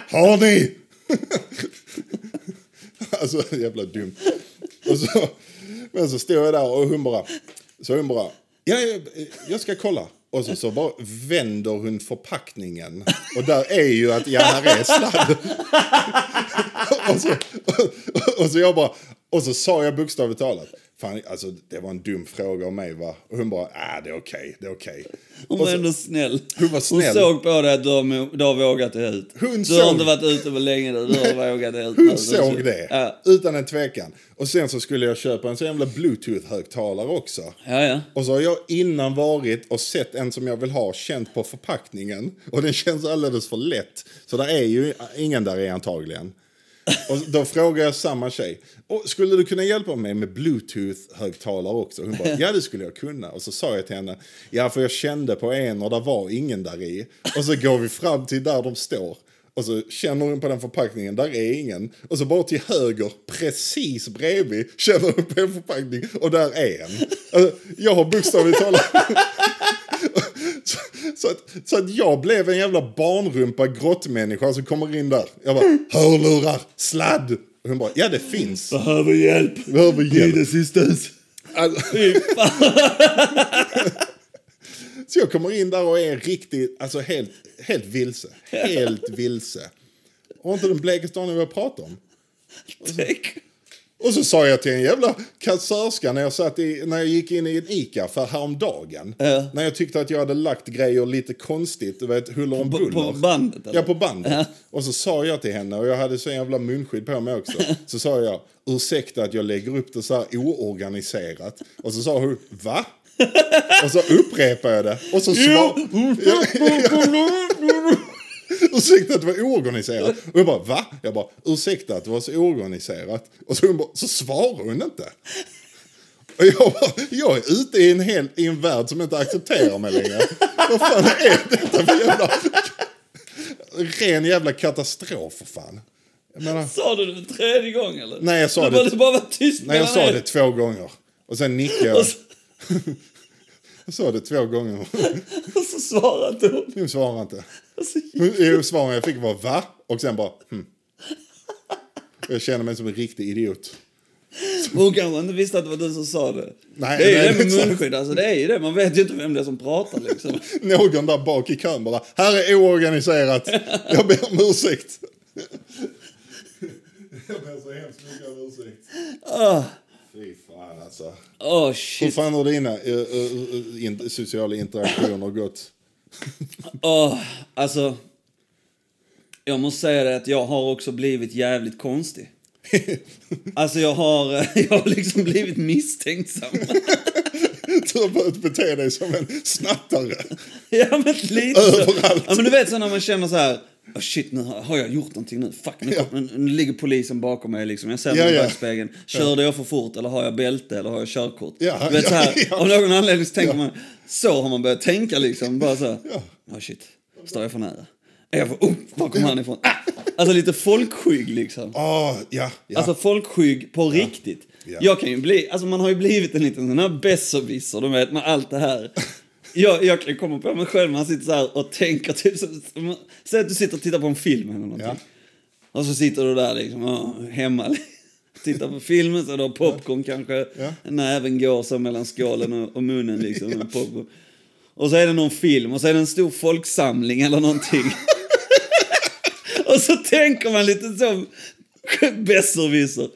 [SPEAKER 1] Har ni? (laughs) alltså, jävla dumt. Och så, men så står jag där och hon bara... Så hon bara... Ja, jag, jag ska kolla. Och så, så bara vänder hon förpackningen. Och där är ju att jag här är sladd. (laughs) och, så, och, och så jag bara... Och så sa jag bokstavligt talat. Fan, alltså, det var en dum fråga om mig va? Och hon bara, ah, det är okej, det är okej. Och
[SPEAKER 2] Hon var
[SPEAKER 1] så-
[SPEAKER 2] ändå snäll.
[SPEAKER 1] Hon var snäll.
[SPEAKER 2] Hon såg på dig att du har, du har vågat dig ut.
[SPEAKER 1] Hon
[SPEAKER 2] du
[SPEAKER 1] såg-
[SPEAKER 2] har inte varit ute på länge nu. Du har vågat dig ut.
[SPEAKER 1] Hon
[SPEAKER 2] Alltså,
[SPEAKER 1] såg det,
[SPEAKER 2] Ja,
[SPEAKER 1] utan en tvekan. Och sen så skulle jag köpa en sån jävla bluetooth-högtalare också.
[SPEAKER 2] ja. ja.
[SPEAKER 1] Och så har jag innan varit och sett en som jag vill ha, känt på förpackningen. Och den känns alldeles för lätt. Så det är ju ingen där är antagligen. Och då frågar jag samma tjej. Och skulle du kunna hjälpa mig med bluetooth-högtalare också? Hon bara, ja det skulle jag kunna. Och så sa jag till henne, ja för jag kände på en och där var ingen där i. Och så går vi fram till där de står. Och så känner hon på den förpackningen, där är ingen. Och så bara till höger, precis bredvid, känner hon på en förpackning och där är en. Alltså, jag har bokstavligt talat... så, så, att, så att jag blev en jävla barnrumpa grottmänniska som kommer in där. Jag bara, hörlurar, sladd. Och hon bara, ja det finns.
[SPEAKER 2] Behöver hjälp.
[SPEAKER 1] Behöver hjälp.
[SPEAKER 2] assistans.
[SPEAKER 1] Alltså, (laughs) så jag kommer in där och är riktigt, alltså helt, helt vilse. Helt vilse. Och inte den blekaste aning vad jag pratar om.
[SPEAKER 2] Tänk.
[SPEAKER 1] Och så sa jag till en jävla kassörska när jag, satt i, när jag gick in i en ICA för häromdagen.
[SPEAKER 2] Ja.
[SPEAKER 1] När jag tyckte att jag hade lagt grejer lite konstigt, du vet, huller om
[SPEAKER 2] På,
[SPEAKER 1] buller.
[SPEAKER 2] på bandet? eller?
[SPEAKER 1] Ja,
[SPEAKER 2] (laughs)
[SPEAKER 1] på bandet. Och så sa jag till henne, och jag hade så jävla munskydd på mig också. Så sa jag, ursäkta att jag lägger upp det så här oorganiserat. Och så sa hon, va? Och så upprepade jag det. Och så svar... Ursäkta att det var oorganiserat. Och jag bara, va? Jag bara, ursäkta att det var så oorganiserat. Och så, hon bara, så svarar hon inte. Och jag bara, jag är ute i en, hel, i en värld som inte accepterar mig längre. Vad fan är detta för jävla... Ren jävla katastrof för fan. Jag menar,
[SPEAKER 2] Sa du det för tredje gången eller?
[SPEAKER 1] Nej, jag sa
[SPEAKER 2] du
[SPEAKER 1] det-
[SPEAKER 2] Bara, du bara var tyst
[SPEAKER 1] nej jag
[SPEAKER 2] mellan
[SPEAKER 1] sa
[SPEAKER 2] er.
[SPEAKER 1] det två gånger. Och sen nickade jag.
[SPEAKER 2] Och så,
[SPEAKER 1] Jag sa det två gånger.
[SPEAKER 2] och så svarade inte hon.
[SPEAKER 1] Hon svarade inte.
[SPEAKER 2] Och så-
[SPEAKER 1] Jo, svaren jag fick var va? Och sen bara hm. Jag känner mig som en riktig idiot.
[SPEAKER 2] Hon kanske inte visste att det var du som sa det.
[SPEAKER 1] Nej,
[SPEAKER 2] det är
[SPEAKER 1] nej,
[SPEAKER 2] ju det med
[SPEAKER 1] exakt.
[SPEAKER 2] munskydd. Alltså, det är ju det. Man vet ju inte vem det är som pratar liksom.
[SPEAKER 1] Någon där bak i kön bara, här är oorganiserat, jag ber om ursäkt. (laughs) jag ber så hemskt mycket om ursäkt.
[SPEAKER 2] Åh,
[SPEAKER 1] Fy fan alltså.
[SPEAKER 2] åh,
[SPEAKER 1] Ah. Hur
[SPEAKER 2] shit.
[SPEAKER 1] fan har dina eh, eh, in, sociala interaktioner gått? (laughs)
[SPEAKER 2] Åh, alltså. Jag måste säga det att jag har också blivit jävligt konstig. Alltså jag har, (laughs) jag har liksom blivit misstänksam.
[SPEAKER 1] Du har börjat bete dig som en snattare.
[SPEAKER 2] (laughs) Ja men lite så.
[SPEAKER 1] Överallt.
[SPEAKER 2] Ja men du vet så när man känner så här. "Ah, shit nu har har jag gjort någonting nu. Fuck nu,
[SPEAKER 1] Ja.
[SPEAKER 2] kom- nu, nu ligger polisen bakom mig liksom. Jag ser
[SPEAKER 1] Ja,
[SPEAKER 2] mig i
[SPEAKER 1] ja.
[SPEAKER 2] backspegeln. Körde jag för fort eller har jag bälte eller har jag körkort?
[SPEAKER 1] Ja,
[SPEAKER 2] du vet
[SPEAKER 1] ja,
[SPEAKER 2] så här.
[SPEAKER 1] ja.
[SPEAKER 2] Av någon anledning så tänker man. Så har man börjat tänka liksom. Bara så. här,
[SPEAKER 1] Ja.
[SPEAKER 2] "Ah, shit. Står jag för nära? Är jag för... Oh, var kommer han ifrån? Ah! Alltså lite folkskygg liksom.
[SPEAKER 1] Ah, ja, ja.
[SPEAKER 2] Alltså folkskygg på riktigt.
[SPEAKER 1] Ja.
[SPEAKER 2] Jag kan ju bli, alltså man har ju blivit en liten sån här besserwisser, de vet, med allt det här. Jag, jag kan komma på mig själv när man sitter så här och tänker typ som, som, Säg att du sitter och tittar på en film eller någonting.
[SPEAKER 1] Ja.
[SPEAKER 2] Och så sitter du där liksom, ja, hemma. (laughs) Tittar på filmen, så du har popcorn kanske.
[SPEAKER 1] Ja.
[SPEAKER 2] Näven går så mellan skålen och, och munnen liksom. med popcorn. Och så är det någon film och så är det en stor folksamling eller någonting. (laughs) och så tänker man lite så besserwisser.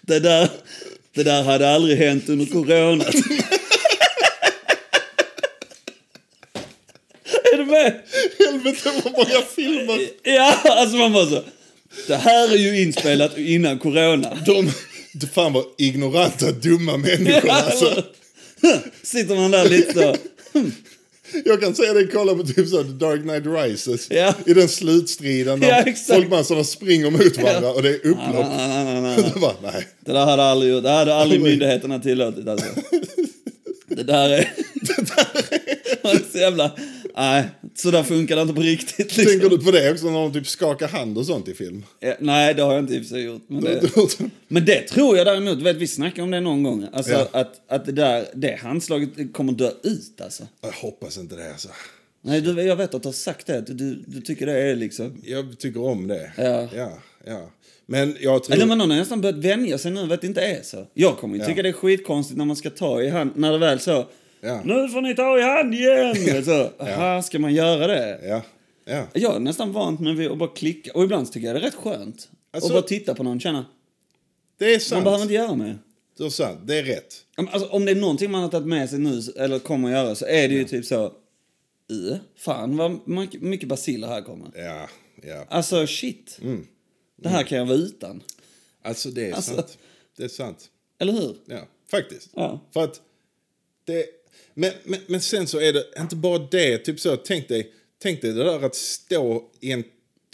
[SPEAKER 2] (laughs) det, där, det där hade aldrig hänt under corona. (laughs) är du med?
[SPEAKER 1] Helvete vad många filmer.
[SPEAKER 2] Ja, alltså man bara så. Det här är ju inspelat innan corona.
[SPEAKER 1] De, de fan vad ignoranta, dumma människor alltså.
[SPEAKER 2] (laughs) Sitter man där lite så.
[SPEAKER 1] Jag kan säga det, kolla på typ så här, The Dark Knight Rises.
[SPEAKER 2] Ja.
[SPEAKER 1] I den slutstriden
[SPEAKER 2] Ja,
[SPEAKER 1] där
[SPEAKER 2] exakt. Ah.
[SPEAKER 1] folkmassorna springer mot varandra och det är upplopp.
[SPEAKER 2] Na,
[SPEAKER 1] (laughs)
[SPEAKER 2] na, na, na, na.
[SPEAKER 1] Det bara, nej. (laughs)
[SPEAKER 2] Det där hade aldrig gjort. Det hade aldrig
[SPEAKER 1] Aldrig.
[SPEAKER 2] myndigheterna tillåtit alltså. Det där är... (laughs) Det där är... Så jävla... Nej, så där funkar det inte på riktigt liksom.
[SPEAKER 1] Tänker du på det också när de typ skakar hand och sånt i film?
[SPEAKER 2] Ja, Nej, det har jag inte i och för sig gjort. Men det... Men det tror jag däremot, vet, vi snackade om det någon gång, alltså,
[SPEAKER 1] Ja.
[SPEAKER 2] att, att det där det handslaget kommer dö ut alltså.
[SPEAKER 1] Jag hoppas inte det alltså.
[SPEAKER 2] Nej, du, jag vet att du har sagt det, att du, du tycker det är liksom...
[SPEAKER 1] Jag tycker om det.
[SPEAKER 2] Ja.
[SPEAKER 1] Ja, ja. Men jag tror...
[SPEAKER 2] Eller man har nästan börjat vänja sig nu vid att det inte är så. Jag kommer ju
[SPEAKER 1] Ja.
[SPEAKER 2] tycka det är skitkonstigt när man ska ta i hand, när det väl så...
[SPEAKER 1] Ja.
[SPEAKER 2] Nu får ni ta i
[SPEAKER 1] (laughs)
[SPEAKER 2] hand igen! så, aha, ska man göra det?
[SPEAKER 1] Ja, ja.
[SPEAKER 2] Jag är nästan vant med vid att bara klicka, och ibland så tycker jag det är rätt skönt.
[SPEAKER 1] Alltså-
[SPEAKER 2] och bara titta på någon, känna,
[SPEAKER 1] Det är
[SPEAKER 2] man
[SPEAKER 1] sant.
[SPEAKER 2] behöver inte göra mer.
[SPEAKER 1] Det är sant. Det är rätt.
[SPEAKER 2] Ja, men Alltså, om det är någonting man har tagit med sig nu, eller kommer att göra, så är det ju typ så... "Ö, Fan vad man- mycket baciller här kommer.
[SPEAKER 1] Ja, ja.
[SPEAKER 2] Alltså shit.
[SPEAKER 1] Mm.
[SPEAKER 2] Det här kan jag vara utan.
[SPEAKER 1] Alltså det är
[SPEAKER 2] Alltså.
[SPEAKER 1] sant. Det är sant.
[SPEAKER 2] Eller hur?
[SPEAKER 1] Ja, faktiskt.
[SPEAKER 2] Ja.
[SPEAKER 1] För att det... Men, men, men sen så är det inte bara det. Typ så, tänk dig, tänk dig det där att stå i en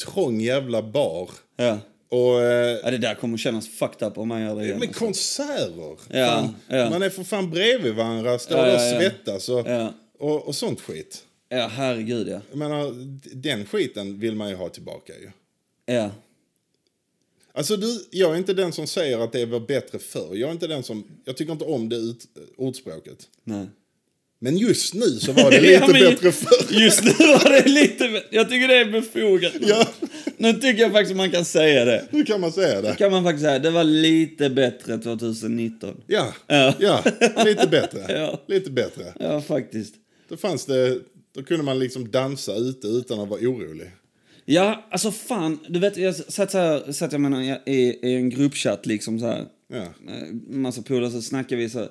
[SPEAKER 1] trång jävla bar
[SPEAKER 2] Ja.
[SPEAKER 1] och... Eh,
[SPEAKER 2] ja det där kommer kännas fucked up om man gör det igen.
[SPEAKER 1] Med konserter.
[SPEAKER 2] Ja,
[SPEAKER 1] fan,
[SPEAKER 2] ja.
[SPEAKER 1] Man är för fan bredvid varandra, står
[SPEAKER 2] Ja,
[SPEAKER 1] där och
[SPEAKER 2] ja, ja.
[SPEAKER 1] svettas och,
[SPEAKER 2] Ja.
[SPEAKER 1] och, och sånt skit.
[SPEAKER 2] Ja, herregud ja.
[SPEAKER 1] Jag menar, d- den skiten vill man ju ha tillbaka ju.
[SPEAKER 2] Ja.
[SPEAKER 1] Alltså du, jag är inte den som säger att det var bättre förr. Jag är inte den som, jag tycker inte om det ut, ordspråket.
[SPEAKER 2] Nej.
[SPEAKER 1] Men just nu så var det lite
[SPEAKER 2] (laughs) Ja, men ju-
[SPEAKER 1] bättre förr. (laughs)
[SPEAKER 2] Just nu var det lite... be- Jag tycker det är befogat.
[SPEAKER 1] Ja.
[SPEAKER 2] Nu tycker jag faktiskt man kan säga det.
[SPEAKER 1] Nu kan man säga det.
[SPEAKER 2] Kan man faktiskt säga, det var lite bättre 2019.
[SPEAKER 1] Ja,
[SPEAKER 2] Ja.
[SPEAKER 1] ja, lite bättre.
[SPEAKER 2] (laughs) Ja.
[SPEAKER 1] Lite bättre.
[SPEAKER 2] Ja, faktiskt.
[SPEAKER 1] Då fanns det, då kunde man liksom dansa ute utan att vara orolig.
[SPEAKER 2] Ja, alltså fan. Du vet, jag satt, så här, satt jag menar, i, i en gruppchatt liksom så här.
[SPEAKER 1] Ja.
[SPEAKER 2] Eh, Massa polare så snackade vi så här.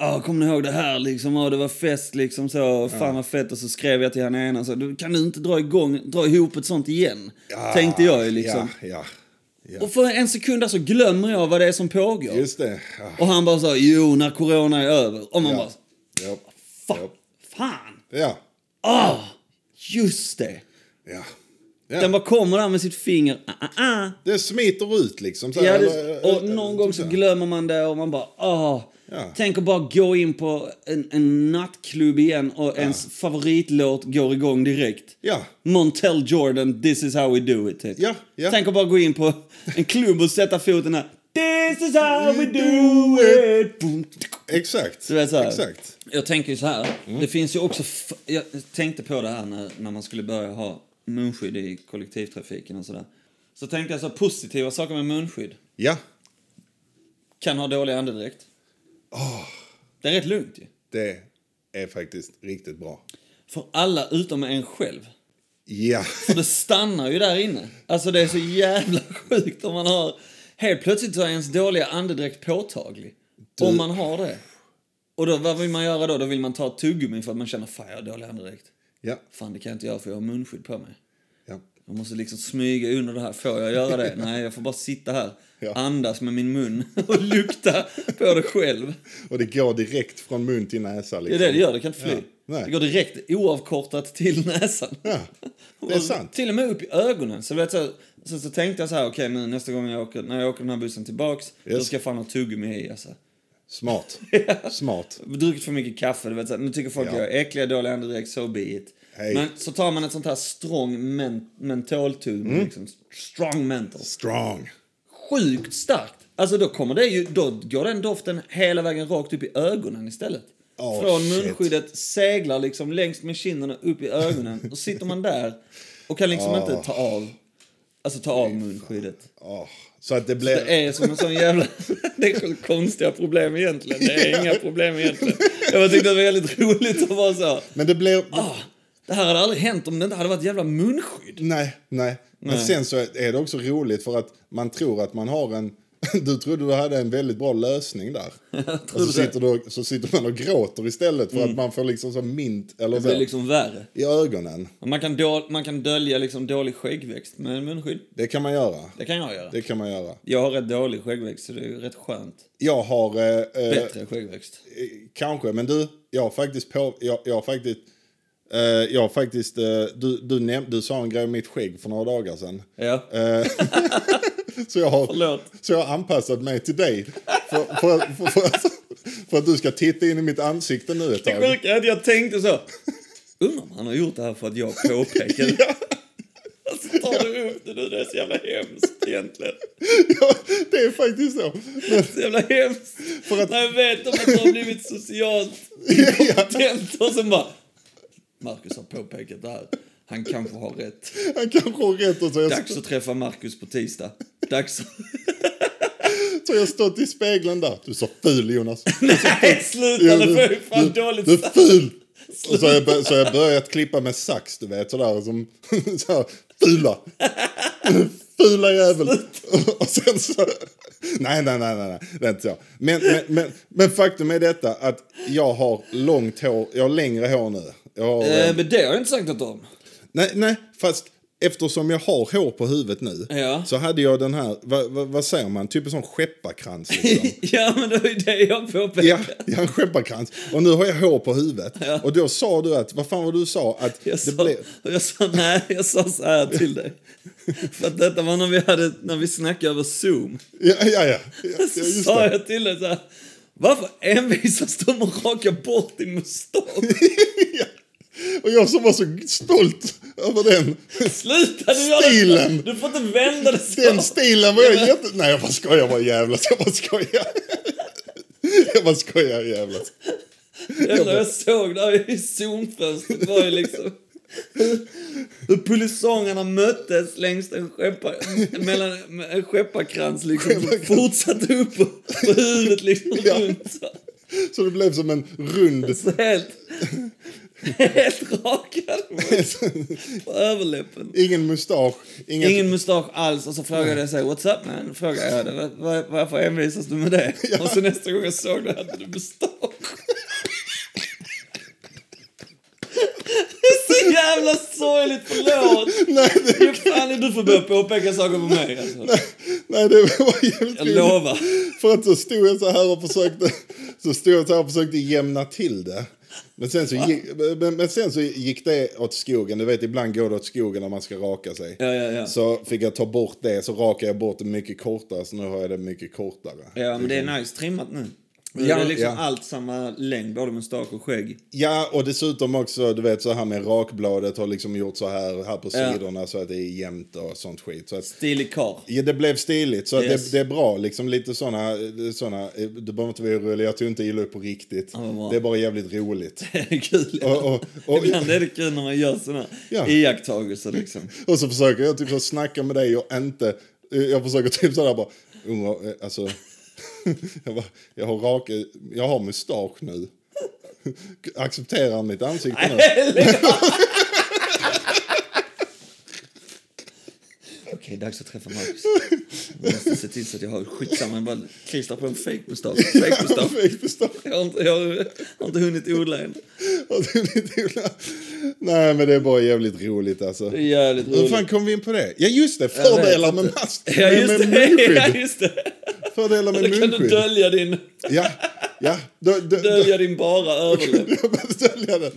[SPEAKER 2] Ja, kommer ni ihåg det här liksom? Ja, det var fest liksom så. Fan vad fett. Och så skrev jag till han ena så. "Du, Kan du inte dra igång, dra ihop ett sånt igen?
[SPEAKER 1] Ja,
[SPEAKER 2] Tänkte jag ju liksom.
[SPEAKER 1] Ja, ja, ja.
[SPEAKER 2] Och för en sekund där så glömmer jag vad det är som pågår.
[SPEAKER 1] Just det. Ja.
[SPEAKER 2] Och han bara så, här, jo, när corona är över. Och man bara,
[SPEAKER 1] Ja.
[SPEAKER 2] fuck,
[SPEAKER 1] Ja.
[SPEAKER 2] fan,
[SPEAKER 1] Ja.
[SPEAKER 2] ah, just det.
[SPEAKER 1] ja.
[SPEAKER 2] Den
[SPEAKER 1] ja.
[SPEAKER 2] bara kommer där med sitt finger, ah, ah, ah.
[SPEAKER 1] Det smiter ut liksom. Så här,
[SPEAKER 2] Ja,
[SPEAKER 1] eller-
[SPEAKER 2] det, och
[SPEAKER 1] eller-
[SPEAKER 2] någon gång så
[SPEAKER 1] här.
[SPEAKER 2] glömmer man det och man bara åh.
[SPEAKER 1] Ja.
[SPEAKER 2] Tänk att bara gå in på en, en nattklubb igen och ens favoritlåt går igång direkt.
[SPEAKER 1] Ja.
[SPEAKER 2] Montel Jordan, This is how we do it. Typ.
[SPEAKER 1] Ja, ja.
[SPEAKER 2] Tänk att bara gå in på en klubb och sätta foten här. This is how we do it. Boom.
[SPEAKER 1] Exakt.
[SPEAKER 2] Du vet så här.
[SPEAKER 1] Exakt.
[SPEAKER 2] Jag tänker ju så här.
[SPEAKER 1] Mm.
[SPEAKER 2] Det finns ju också... f- Jag tänkte på det här när, när man skulle börja ha munskydd i kollektivtrafiken och sådär. Så tänkte jag så här, positiva saker med munskydd.
[SPEAKER 1] Ja.
[SPEAKER 2] Kan ha dålig andedräkt. Det är rätt lugnt ju.
[SPEAKER 1] Det är faktiskt riktigt bra.
[SPEAKER 2] För alla utom en själv.
[SPEAKER 1] Ja.
[SPEAKER 2] För det stannar ju där inne. Alltså det är så jävla (laughs) sjukt om man har... Helt plötsligt så är ens dåliga andedräkt påtaglig. Om man har det. Och då, vad vill man göra då? Då vill man ta ett tuggummi för att man känner fan jag har dålig andedräkt.
[SPEAKER 1] Ja.
[SPEAKER 2] Fan det kan jag inte göra för jag har munskydd på mig.
[SPEAKER 1] ja.
[SPEAKER 2] Jag måste liksom smyga under det här. Får jag göra det? Nej, jag får bara sitta här.
[SPEAKER 1] Ja.
[SPEAKER 2] Andas med min mun (laughs) och lukta på det själv.
[SPEAKER 1] Och det går direkt från mun till näsa.
[SPEAKER 2] Det är
[SPEAKER 1] Liksom.
[SPEAKER 2] det det gör, det kan inte fly.
[SPEAKER 1] Ja, nej.
[SPEAKER 2] Det går direkt oavkortat till näsan.
[SPEAKER 1] Ja, det är
[SPEAKER 2] Och
[SPEAKER 1] sant.
[SPEAKER 2] Till och med upp i ögonen. Så, vet, så, så, så tänkte jag så här, okej nu nästa gång jag åker, när jag åker den här bussen tillbaks, då
[SPEAKER 1] Yes.
[SPEAKER 2] ska jag fan ha tuggummi i alltså. (laughs)
[SPEAKER 1] Smart. Smart.
[SPEAKER 2] Jag har Druckit för mycket kaffe, du vet, så här, nu tycker folk
[SPEAKER 1] Ja.
[SPEAKER 2] jag är äcklig, dålig andedräkt, so be it.
[SPEAKER 1] Hej.
[SPEAKER 2] Men så tar man ett sånt här strong men- mentoltuggummi,
[SPEAKER 1] Mm.
[SPEAKER 2] liksom, strong mental.
[SPEAKER 1] Strong.
[SPEAKER 2] Sjukt starkt! Alltså då kommer det ju, då går den doften hela vägen rakt upp i ögonen istället.
[SPEAKER 1] Åh,
[SPEAKER 2] Från
[SPEAKER 1] shit.
[SPEAKER 2] munskyddet seglar liksom längs med kinderna upp i ögonen och sitter man där och kan liksom inte ta av, alltså ta av munskyddet.
[SPEAKER 1] Åh, Så att det blir...
[SPEAKER 2] Det är som en sån jävla... (laughs) Det är så konstiga problem egentligen. Det är inga problem egentligen. Jag bara tyckte det var väldigt roligt att vara så.
[SPEAKER 1] Men det blir...
[SPEAKER 2] Ah, det här hade aldrig hänt om det inte hade varit ett jävla munskydd.
[SPEAKER 1] Nej, nej. Men sen så är det också roligt för att man tror att man har en... (laughs) Du trodde du hade en väldigt bra lösning
[SPEAKER 2] (laughs)
[SPEAKER 1] där. Och så
[SPEAKER 2] trodde det. Mm.
[SPEAKER 1] sitter, du, så sitter man och gråter istället för att man får liksom så mint eller
[SPEAKER 2] Det blir
[SPEAKER 1] så
[SPEAKER 2] liksom värre.
[SPEAKER 1] i ögonen.
[SPEAKER 2] Man kan, dol- man kan dölja liksom dålig skäggväxt med munskydd.
[SPEAKER 1] Det kan man göra.
[SPEAKER 2] Det kan jag göra.
[SPEAKER 1] Det kan man göra.
[SPEAKER 2] Jag har rätt dålig skäggväxt, så det är ju rätt skönt.
[SPEAKER 1] Jag har... Eh, eh,
[SPEAKER 2] Bättre skäggväxt.
[SPEAKER 1] Eh, Kanske, men du, jag har faktiskt på... Jag, jag har faktiskt... eh, jag har faktiskt eh, du, du, näm- du sa en grej om mitt skägg för några dagar sedan.
[SPEAKER 2] Ja.
[SPEAKER 1] Eh. Så jag har,
[SPEAKER 2] Förlåt.
[SPEAKER 1] så jag har anpassat mig till dig. För, för, för, för, för att du ska titta in i mitt ansikte nu ett
[SPEAKER 2] Det
[SPEAKER 1] (laughs) tag.
[SPEAKER 2] sjuka är att jag tänkte så. Undrar om han har gjort det här för att jag påpekar
[SPEAKER 1] (laughs)
[SPEAKER 2] det. Alltså tar du upp det nu? Det är så jävla hemskt egentligen.
[SPEAKER 1] Ja, det är faktiskt så. Men,
[SPEAKER 2] Så jävla hemskt.
[SPEAKER 1] För att-
[SPEAKER 2] När jag vet om att jag har blivit socialt inkompetent och sen bara... Marcus har påpekat det här. Han kanske har rätt.
[SPEAKER 1] han kanske har rätt och så har jag,
[SPEAKER 2] Dags att träffa Marcus på tisdag. Dags...
[SPEAKER 1] (laughs) så har jag stått i spegeln där. Du är så ful Jonas.
[SPEAKER 2] Nej, sluta! Det var ju fan
[SPEAKER 1] du, du
[SPEAKER 2] dåligt
[SPEAKER 1] är ful! Och så har jag, bör- så har jag börjat klippa med sax, du vet sådär som... (laughs) Så här, fula! Fula jävel! Och sen så... Nej, nej, nej, nej, nej. det är inte så. Men, men, men, men faktum är detta att jag har långt hår, jag har längre hår nu. Jag har, eh,
[SPEAKER 2] Eh, men det har jag inte sagt något om.
[SPEAKER 1] nej, nej, fast eftersom jag har hår på huvudet nu
[SPEAKER 2] Ja.
[SPEAKER 1] så hade jag den här, vad, vad, vad säger man, typ en sån skepparkrans liksom.
[SPEAKER 2] (laughs) ja, men det var ju det jag påpekade.
[SPEAKER 1] Ja, jag har en skepparkrans. Och nu har jag hår på huvudet. Och då sa du att, vad fan var du sa? Att
[SPEAKER 2] Jag
[SPEAKER 1] det
[SPEAKER 2] sa,
[SPEAKER 1] blev...
[SPEAKER 2] och jag sa nej, jag sa så här
[SPEAKER 1] (laughs)
[SPEAKER 2] till dig. För att detta var när vi, hade, när vi snackade över Zoom.
[SPEAKER 1] Ja, ja, ja. ja
[SPEAKER 2] Så
[SPEAKER 1] just
[SPEAKER 2] sa
[SPEAKER 1] det.
[SPEAKER 2] jag till dig så här. Varför envisas du med att raka bort
[SPEAKER 1] (laughs)
[SPEAKER 2] din mustasch?
[SPEAKER 1] Och jag som var så stolt över den.
[SPEAKER 2] Sluta! Du gör det-
[SPEAKER 1] Stilen.
[SPEAKER 2] Du får inte vända det så!
[SPEAKER 1] Den stilen var jag jätte... Nej, jag bara skojar, jag bara jävlas. Jag bara skojar. Jag bara skojar, jävlas.
[SPEAKER 2] Jävlar, jag såg där i zonfönstret var ju liksom... Hur polisongerna möttes längs en skeppa, mellan en skepparkrans liksom.
[SPEAKER 1] Skepparkrans.
[SPEAKER 2] Fortsatte upp på, på huvudet liksom
[SPEAKER 1] Ja.
[SPEAKER 2] runt så.
[SPEAKER 1] Så det blev som en rund...
[SPEAKER 2] så helt, helt rakad på överläppen.
[SPEAKER 1] Ingen mustasch. Ingen...
[SPEAKER 2] Ingen mustasch alls och så frågade jag så här, what's up man? Frågade jag det. "Var- var- Varför envisas du
[SPEAKER 1] (laughs)
[SPEAKER 2] med det? Och så nästa gång jag såg det hade du mustasch. (laughs) Det är så jävla sorgligt,
[SPEAKER 1] (laughs)
[SPEAKER 2] förlåt!
[SPEAKER 1] Nej, det...
[SPEAKER 2] Hur fan är du för att börja påpeka saker på mig alltså?
[SPEAKER 1] (laughs) Nej, det var jävligt
[SPEAKER 2] Jag
[SPEAKER 1] roligt.
[SPEAKER 2] lovar.
[SPEAKER 1] För att så stod jag så här och försökte, så stod jag så här och försökte jämna till det. Men sen, så gick, men, men sen så gick det åt skogen. Du vet, ibland går det åt skogen när man ska raka sig.
[SPEAKER 2] Ja, ja, ja.
[SPEAKER 1] Så fick jag ta bort det, så rakade jag bort det mycket kortare. Så nu har jag det mycket kortare.
[SPEAKER 2] Ja, men det är nice trimmat nu. Nu
[SPEAKER 1] Ja,
[SPEAKER 2] är det liksom
[SPEAKER 1] ja.
[SPEAKER 2] allt samma längd, både mustasch och skägg.
[SPEAKER 1] Ja, och dessutom också, du vet, så här med rakbladet har liksom gjort så här, här på
[SPEAKER 2] Ja.
[SPEAKER 1] sidorna så att det är jämnt och sånt skit. Så att,
[SPEAKER 2] Stilig (laughs) karl.
[SPEAKER 1] Ja, det blev stiligt, så att
[SPEAKER 2] Yes.
[SPEAKER 1] det, det är bra. Liksom lite såna, såna, du behöver inte vara orolig, jag tog inte illa upp på riktigt.
[SPEAKER 2] vad bra.
[SPEAKER 1] det är bara jävligt roligt.
[SPEAKER 2] Det är kul.
[SPEAKER 1] Och, och, och,
[SPEAKER 2] (laughs) Ibland är det kul när man gör såna
[SPEAKER 1] Ja.
[SPEAKER 2] iakttagelser liksom.
[SPEAKER 1] och så försöker (laughs) jag typ så snacka med dig och inte... Jag försöker typ sådär bara... Undrar, eh, alltså... (laughs) Jag, bara, jag har rak, eh, jag har mustasch nu. (laughs) Accepterar han mitt ansikte nu?
[SPEAKER 2] Okej, dags att träffa Marcus. Jag måste se till så att jag har skitsamma, jag bara klistrar på en fake mustasch. (laughs) Fake mustasch.
[SPEAKER 1] (laughs) Fake mustasch.
[SPEAKER 2] Jag har inte, jag har, jag har inte hunnit odla än.
[SPEAKER 1] Har du lite illa? Nej, men det är bara jävligt roligt alltså.
[SPEAKER 2] Det är jävligt
[SPEAKER 1] Hur
[SPEAKER 2] roligt.
[SPEAKER 1] fan kom vi in på det? Ja, just det.
[SPEAKER 2] vet
[SPEAKER 1] Fördelar med
[SPEAKER 2] inte.
[SPEAKER 1] mask.
[SPEAKER 2] Ja,
[SPEAKER 1] med-
[SPEAKER 2] just
[SPEAKER 1] med
[SPEAKER 2] det. (laughs) Ja,
[SPEAKER 1] munskydd.
[SPEAKER 2] just det.
[SPEAKER 1] Fördelar med
[SPEAKER 2] Då kan du
[SPEAKER 1] munskydd.
[SPEAKER 2] dölja din,
[SPEAKER 1] Ja, ja. Då, då, då,
[SPEAKER 2] dölja din bara
[SPEAKER 1] (laughs)
[SPEAKER 2] överläpp.
[SPEAKER 1] jag behöver dölja den.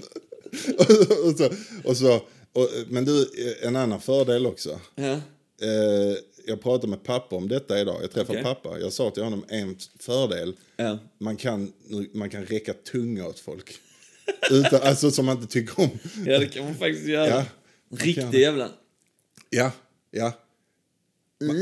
[SPEAKER 1] Och, och så, och så, och, men du, en annan fördel också.
[SPEAKER 2] Ja.
[SPEAKER 1] Eh, jag pratade med pappa om detta idag. Jag träffade
[SPEAKER 2] Okej.
[SPEAKER 1] pappa. Jag sa till honom en fördel.
[SPEAKER 2] Ja.
[SPEAKER 1] Man, kan, man kan räcka tunga åt folk. Utan, alltså som man inte tycker om.
[SPEAKER 2] ja, det kan man faktiskt göra.
[SPEAKER 1] Ja.
[SPEAKER 2] Riktig jävla...
[SPEAKER 1] Ja, ja. Mm.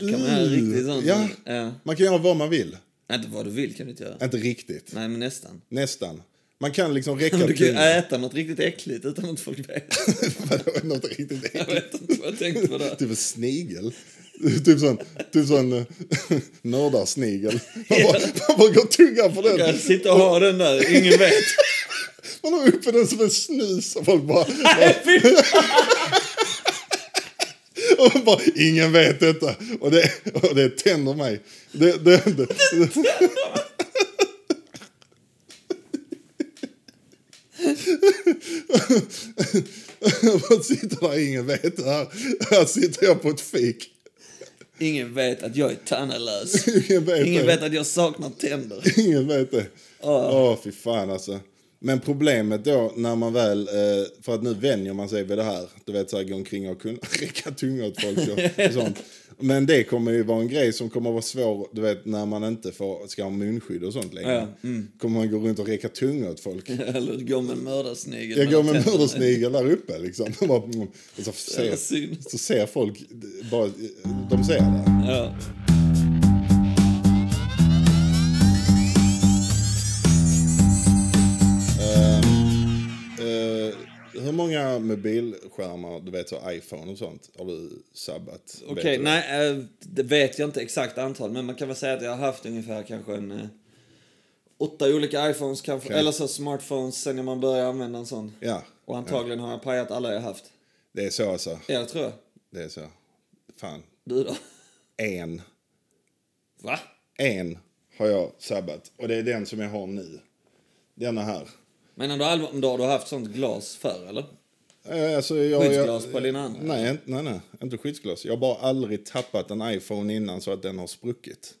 [SPEAKER 2] Kan man göra riktigt sånt?
[SPEAKER 1] Ja.
[SPEAKER 2] ja. Äh,
[SPEAKER 1] Man kan göra vad man vill.
[SPEAKER 2] Inte vad du vill kan du inte göra.
[SPEAKER 1] Inte riktigt.
[SPEAKER 2] Nej, men nästan.
[SPEAKER 1] Nästan. Man kan
[SPEAKER 2] (laughs)
[SPEAKER 1] liksom räcka
[SPEAKER 2] Du kan ju
[SPEAKER 1] tungan.
[SPEAKER 2] äta något riktigt äckligt utan att folk vet.
[SPEAKER 1] (laughs) Vadå, Något riktigt
[SPEAKER 2] Jag vet inte vad jag tänkte på det.
[SPEAKER 1] Typ en snigel. typ sån, typ sån eh, (laughs) nördarsnigel. Man bara, man bara går tungan på
[SPEAKER 2] Jag
[SPEAKER 1] den.
[SPEAKER 2] sitter och har den där,
[SPEAKER 1] (laughs)
[SPEAKER 2] ingen vet.
[SPEAKER 1] Man har uppe den som en snus och folk bara... (laughs)
[SPEAKER 2] Fy
[SPEAKER 1] Och man bara Ingen vet detta. Och det, och det tänder mig. Det, det, det, (laughs) Man sitter där, ingen vet det här. Här sitter jag på ett fik.
[SPEAKER 2] Ingen vet att jag är
[SPEAKER 1] (laughs)
[SPEAKER 2] tandlös.
[SPEAKER 1] Ingen vet
[SPEAKER 2] Ingen
[SPEAKER 1] det.
[SPEAKER 2] vet att jag saknar
[SPEAKER 1] (laughs)
[SPEAKER 2] tänder. (laughs)
[SPEAKER 1] Ingen vet det. Åh, fy fan alltså. Men problemet då när man väl, eh, för att nu vänjer man sig vid det här, du vet såhär gå omkring och kunna (laughs) räcka tunga åt folk och, och sånt. Men det kommer ju vara en grej som kommer att vara svår, du vet när man inte får, ska ha munskydd och sånt längre.
[SPEAKER 2] Ja, Mm.
[SPEAKER 1] Kommer man gå runt och räcka tunga åt folk.
[SPEAKER 2] Eller gå med en mördarsnigel.
[SPEAKER 1] Jag går med
[SPEAKER 2] tänderna.
[SPEAKER 1] mördarsnigel där uppe liksom. (laughs) Och bara, mm, och så,
[SPEAKER 2] Jävla
[SPEAKER 1] ser,
[SPEAKER 2] synd.
[SPEAKER 1] så ser folk, bara, de ser det.
[SPEAKER 2] Ja.
[SPEAKER 1] Eh, hur många mobilskärmar, du vet så iPhone och sånt, har du sabbat?
[SPEAKER 2] Okej,
[SPEAKER 1] Vet du?
[SPEAKER 2] nej, eh, det vet jag inte exakt antal, men man kan väl säga att jag har haft ungefär kanske en eh, åtta olika iPhones, kanske, eller så smartphones, sen när man började använda en sån.
[SPEAKER 1] Ja,
[SPEAKER 2] Och antagligen har jag pajat alla jag haft.
[SPEAKER 1] det är så alltså.
[SPEAKER 2] Ja, det tror jag.
[SPEAKER 1] Det är så. Fan.
[SPEAKER 2] Du då?
[SPEAKER 1] En.
[SPEAKER 2] Va?
[SPEAKER 1] En har jag sabbat. Och det är den som jag har nu. Denna här.
[SPEAKER 2] Menar du allvar om du har haft sånt glas förr, eller?
[SPEAKER 1] Eh, Alltså, jag,
[SPEAKER 2] Skyddsglas
[SPEAKER 1] jag,
[SPEAKER 2] på din andra?
[SPEAKER 1] Nej, inte- nej, nej, inte skyddsglas. Jag har bara aldrig tappat en iPhone innan så att den har spruckit.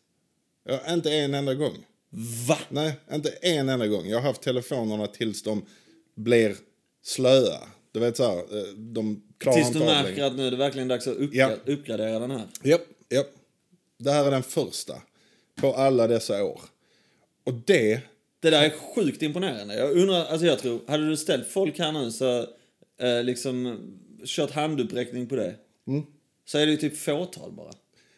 [SPEAKER 1] Jag, inte en enda gång.
[SPEAKER 2] Va?
[SPEAKER 1] Nej, inte en enda gång. Jag har haft telefonerna tills de blir slöa. Du vet så här, eh, de klarar
[SPEAKER 2] Tills
[SPEAKER 1] inte
[SPEAKER 2] du
[SPEAKER 1] av
[SPEAKER 2] märker
[SPEAKER 1] längre.
[SPEAKER 2] att nu är det verkligen dags att uppgra-
[SPEAKER 1] Ja.
[SPEAKER 2] uppgradera den här.
[SPEAKER 1] Japp, japp. Det här är den första på alla dessa år. Och det...
[SPEAKER 2] Det där är sjukt imponerande. Jag undrar, alltså jag tror, hade du ställt folk här nu så eh, liksom kört handuppräckning på det.
[SPEAKER 1] Mm.
[SPEAKER 2] Så är det ju typ fåtal bara.